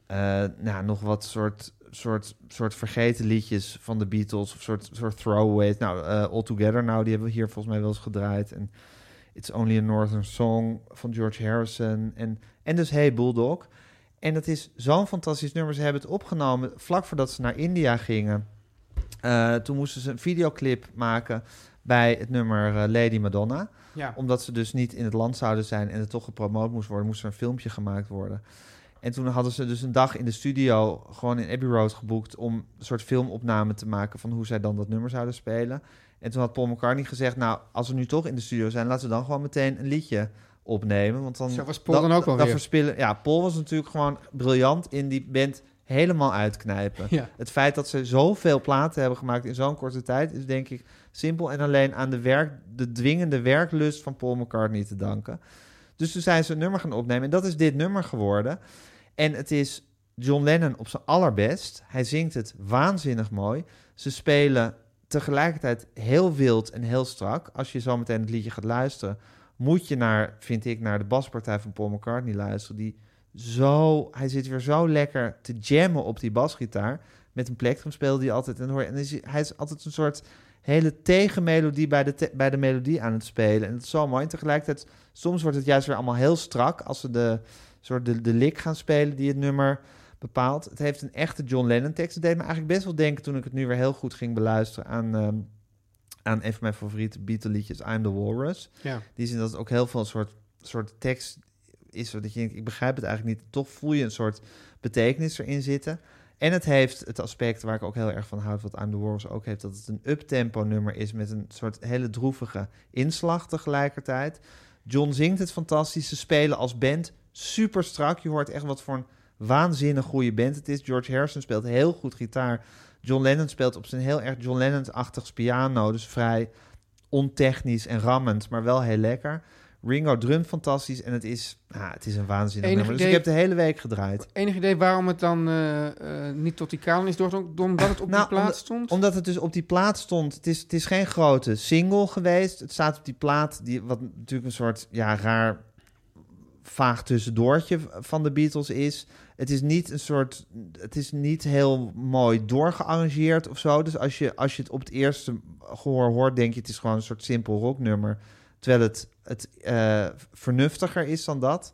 Speaker 1: eh, nou, nog wat soort, soort, soort vergeten liedjes van de Beatles. Of soort, soort throwaways. Nou, eh, All Together Now, die hebben we hier volgens mij wel eens gedraaid. En It's Only a Northern Song van George Harrison. En, en dus Hey Bulldog. En dat is zo'n fantastisch nummer. Ze hebben het opgenomen vlak voordat ze naar India gingen. Eh, toen moesten ze een videoclip maken bij het nummer eh, Lady Madonna.
Speaker 2: Ja.
Speaker 1: Omdat ze dus niet in het land zouden zijn en het toch gepromoot moest worden, moest er een filmpje gemaakt worden. En toen hadden ze dus een dag in de studio gewoon in Abbey Road geboekt om een soort filmopname te maken van hoe zij dan dat nummer zouden spelen. En toen had Paul McCartney gezegd, nou, als we nu toch in de studio zijn, laten we dan gewoon meteen een liedje opnemen. Want dan,
Speaker 2: Zo was Paul dan ook wel weer.
Speaker 1: verspillen. Ja, Paul was natuurlijk gewoon briljant in die band helemaal uitknijpen.
Speaker 2: Ja.
Speaker 1: Het feit dat ze zoveel platen hebben gemaakt in zo'n korte tijd... is denk ik simpel en alleen aan de, werk, de dwingende werklust van Paul McCartney te danken. Dus toen zijn ze een nummer gaan opnemen en dat is dit nummer geworden. En het is John Lennon op zijn allerbest. Hij zingt het waanzinnig mooi. Ze spelen tegelijkertijd heel wild en heel strak. Als je zo meteen het liedje gaat luisteren... moet je naar, vind ik, naar de baspartij van Paul McCartney luisteren... die zo, hij zit weer zo lekker te jammen op die basgitaar. Met een plektrum speelde hij altijd. En, dan hoor je, en dan is hij, hij is altijd een soort hele tegenmelodie bij de, te- bij de melodie aan het spelen. En dat is zo mooi. En tegelijkertijd, soms wordt het juist weer allemaal heel strak... als ze de, soort de, de lick gaan spelen die het nummer bepaalt. Het heeft een echte John Lennon tekst. Het deed me eigenlijk best wel denken toen ik het nu weer heel goed ging beluisteren... aan, ehm, aan een van mijn favoriete Beatle liedjes, I'm the Walrus.
Speaker 2: Ja.
Speaker 1: Die zin dat het ook heel veel een soort, soort tekst is... dat je denkt, ik begrijp het eigenlijk niet. Toch voel je een soort betekenis erin zitten... En het heeft het aspect waar ik ook heel erg van houd, wat I'm the Wars ook heeft, dat het een uptempo nummer is met een soort hele droevige inslag tegelijkertijd. John zingt het fantastisch, ze spelen als band super strak. Je hoort echt wat voor een waanzinnig goede band het is. George Harrison speelt heel goed gitaar. John Lennon speelt op zijn heel erg John Lennon-achtigs piano, dus vrij ontechnisch en rammend, maar wel heel lekker. Ringo drumt fantastisch en het is, ah, het is een waanzinnig
Speaker 2: Enig
Speaker 1: nummer. Dus ik heb
Speaker 2: idee-
Speaker 1: de hele week gedraaid.
Speaker 2: Enig idee waarom het dan eh, eh, niet tot die kanon is doorgedrongen, omdat het op
Speaker 1: Nou,
Speaker 2: die plaats
Speaker 1: omdat-
Speaker 2: stond?
Speaker 1: Omdat het dus op die plaat stond. Het is, het is geen grote single geweest. Het staat op die plaat, die, wat natuurlijk een soort ja, raar vaag tussendoortje van de Beatles is. Het is niet een soort. Het is niet heel mooi doorgearrangeerd of zo. Dus als je, als je het op het eerste gehoor hoort, denk je het is gewoon een soort simpel rocknummer. Terwijl het, het eh, vernuftiger is dan dat.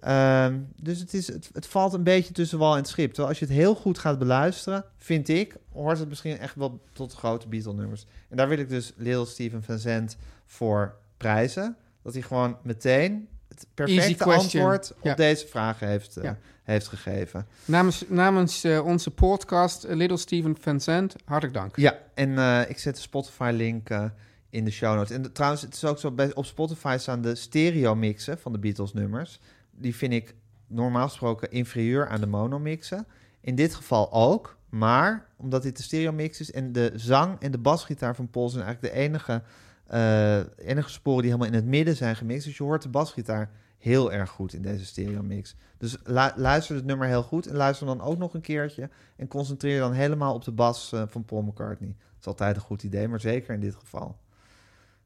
Speaker 1: Ehm, dus het, is, het, het valt een beetje tussen wal en het schip. Terwijl als je het heel goed gaat beluisteren, vind ik, hoort het misschien echt wel tot de grote Beatle-nummers. En daar wil ik dus Lil Steven Vincent voor prijzen. Dat hij gewoon meteen het
Speaker 2: Easy
Speaker 1: perfecte
Speaker 2: question.
Speaker 1: antwoord op
Speaker 2: Ja.
Speaker 1: deze vraag heeft, eh,
Speaker 2: Ja.
Speaker 1: heeft gegeven.
Speaker 2: Namens, namens eh, onze podcast eh, Little Steven Vincent, hartelijk dank.
Speaker 1: Ja, en eh, ik zet de Spotify-link eh, in de show notes. En de- trouwens, het is ook zo, bij, op Spotify staan de stereo-mixen van de Beatles-nummers. Die vind ik normaal gesproken inferieur aan de mono-mixen. In dit geval ook, maar omdat dit de stereo-mix is... en de zang en de basgitaar van Paul zijn eigenlijk de enige, eh, enige sporen... die helemaal in het midden zijn gemixt. Dus je hoort de basgitaar heel erg goed in deze stereo-mix. Dus lu- luister het nummer heel goed en luister dan ook nog een keertje... En concentreer je dan helemaal op de bas eh, van Paul McCartney. Dat is altijd een goed idee, maar zeker in dit geval.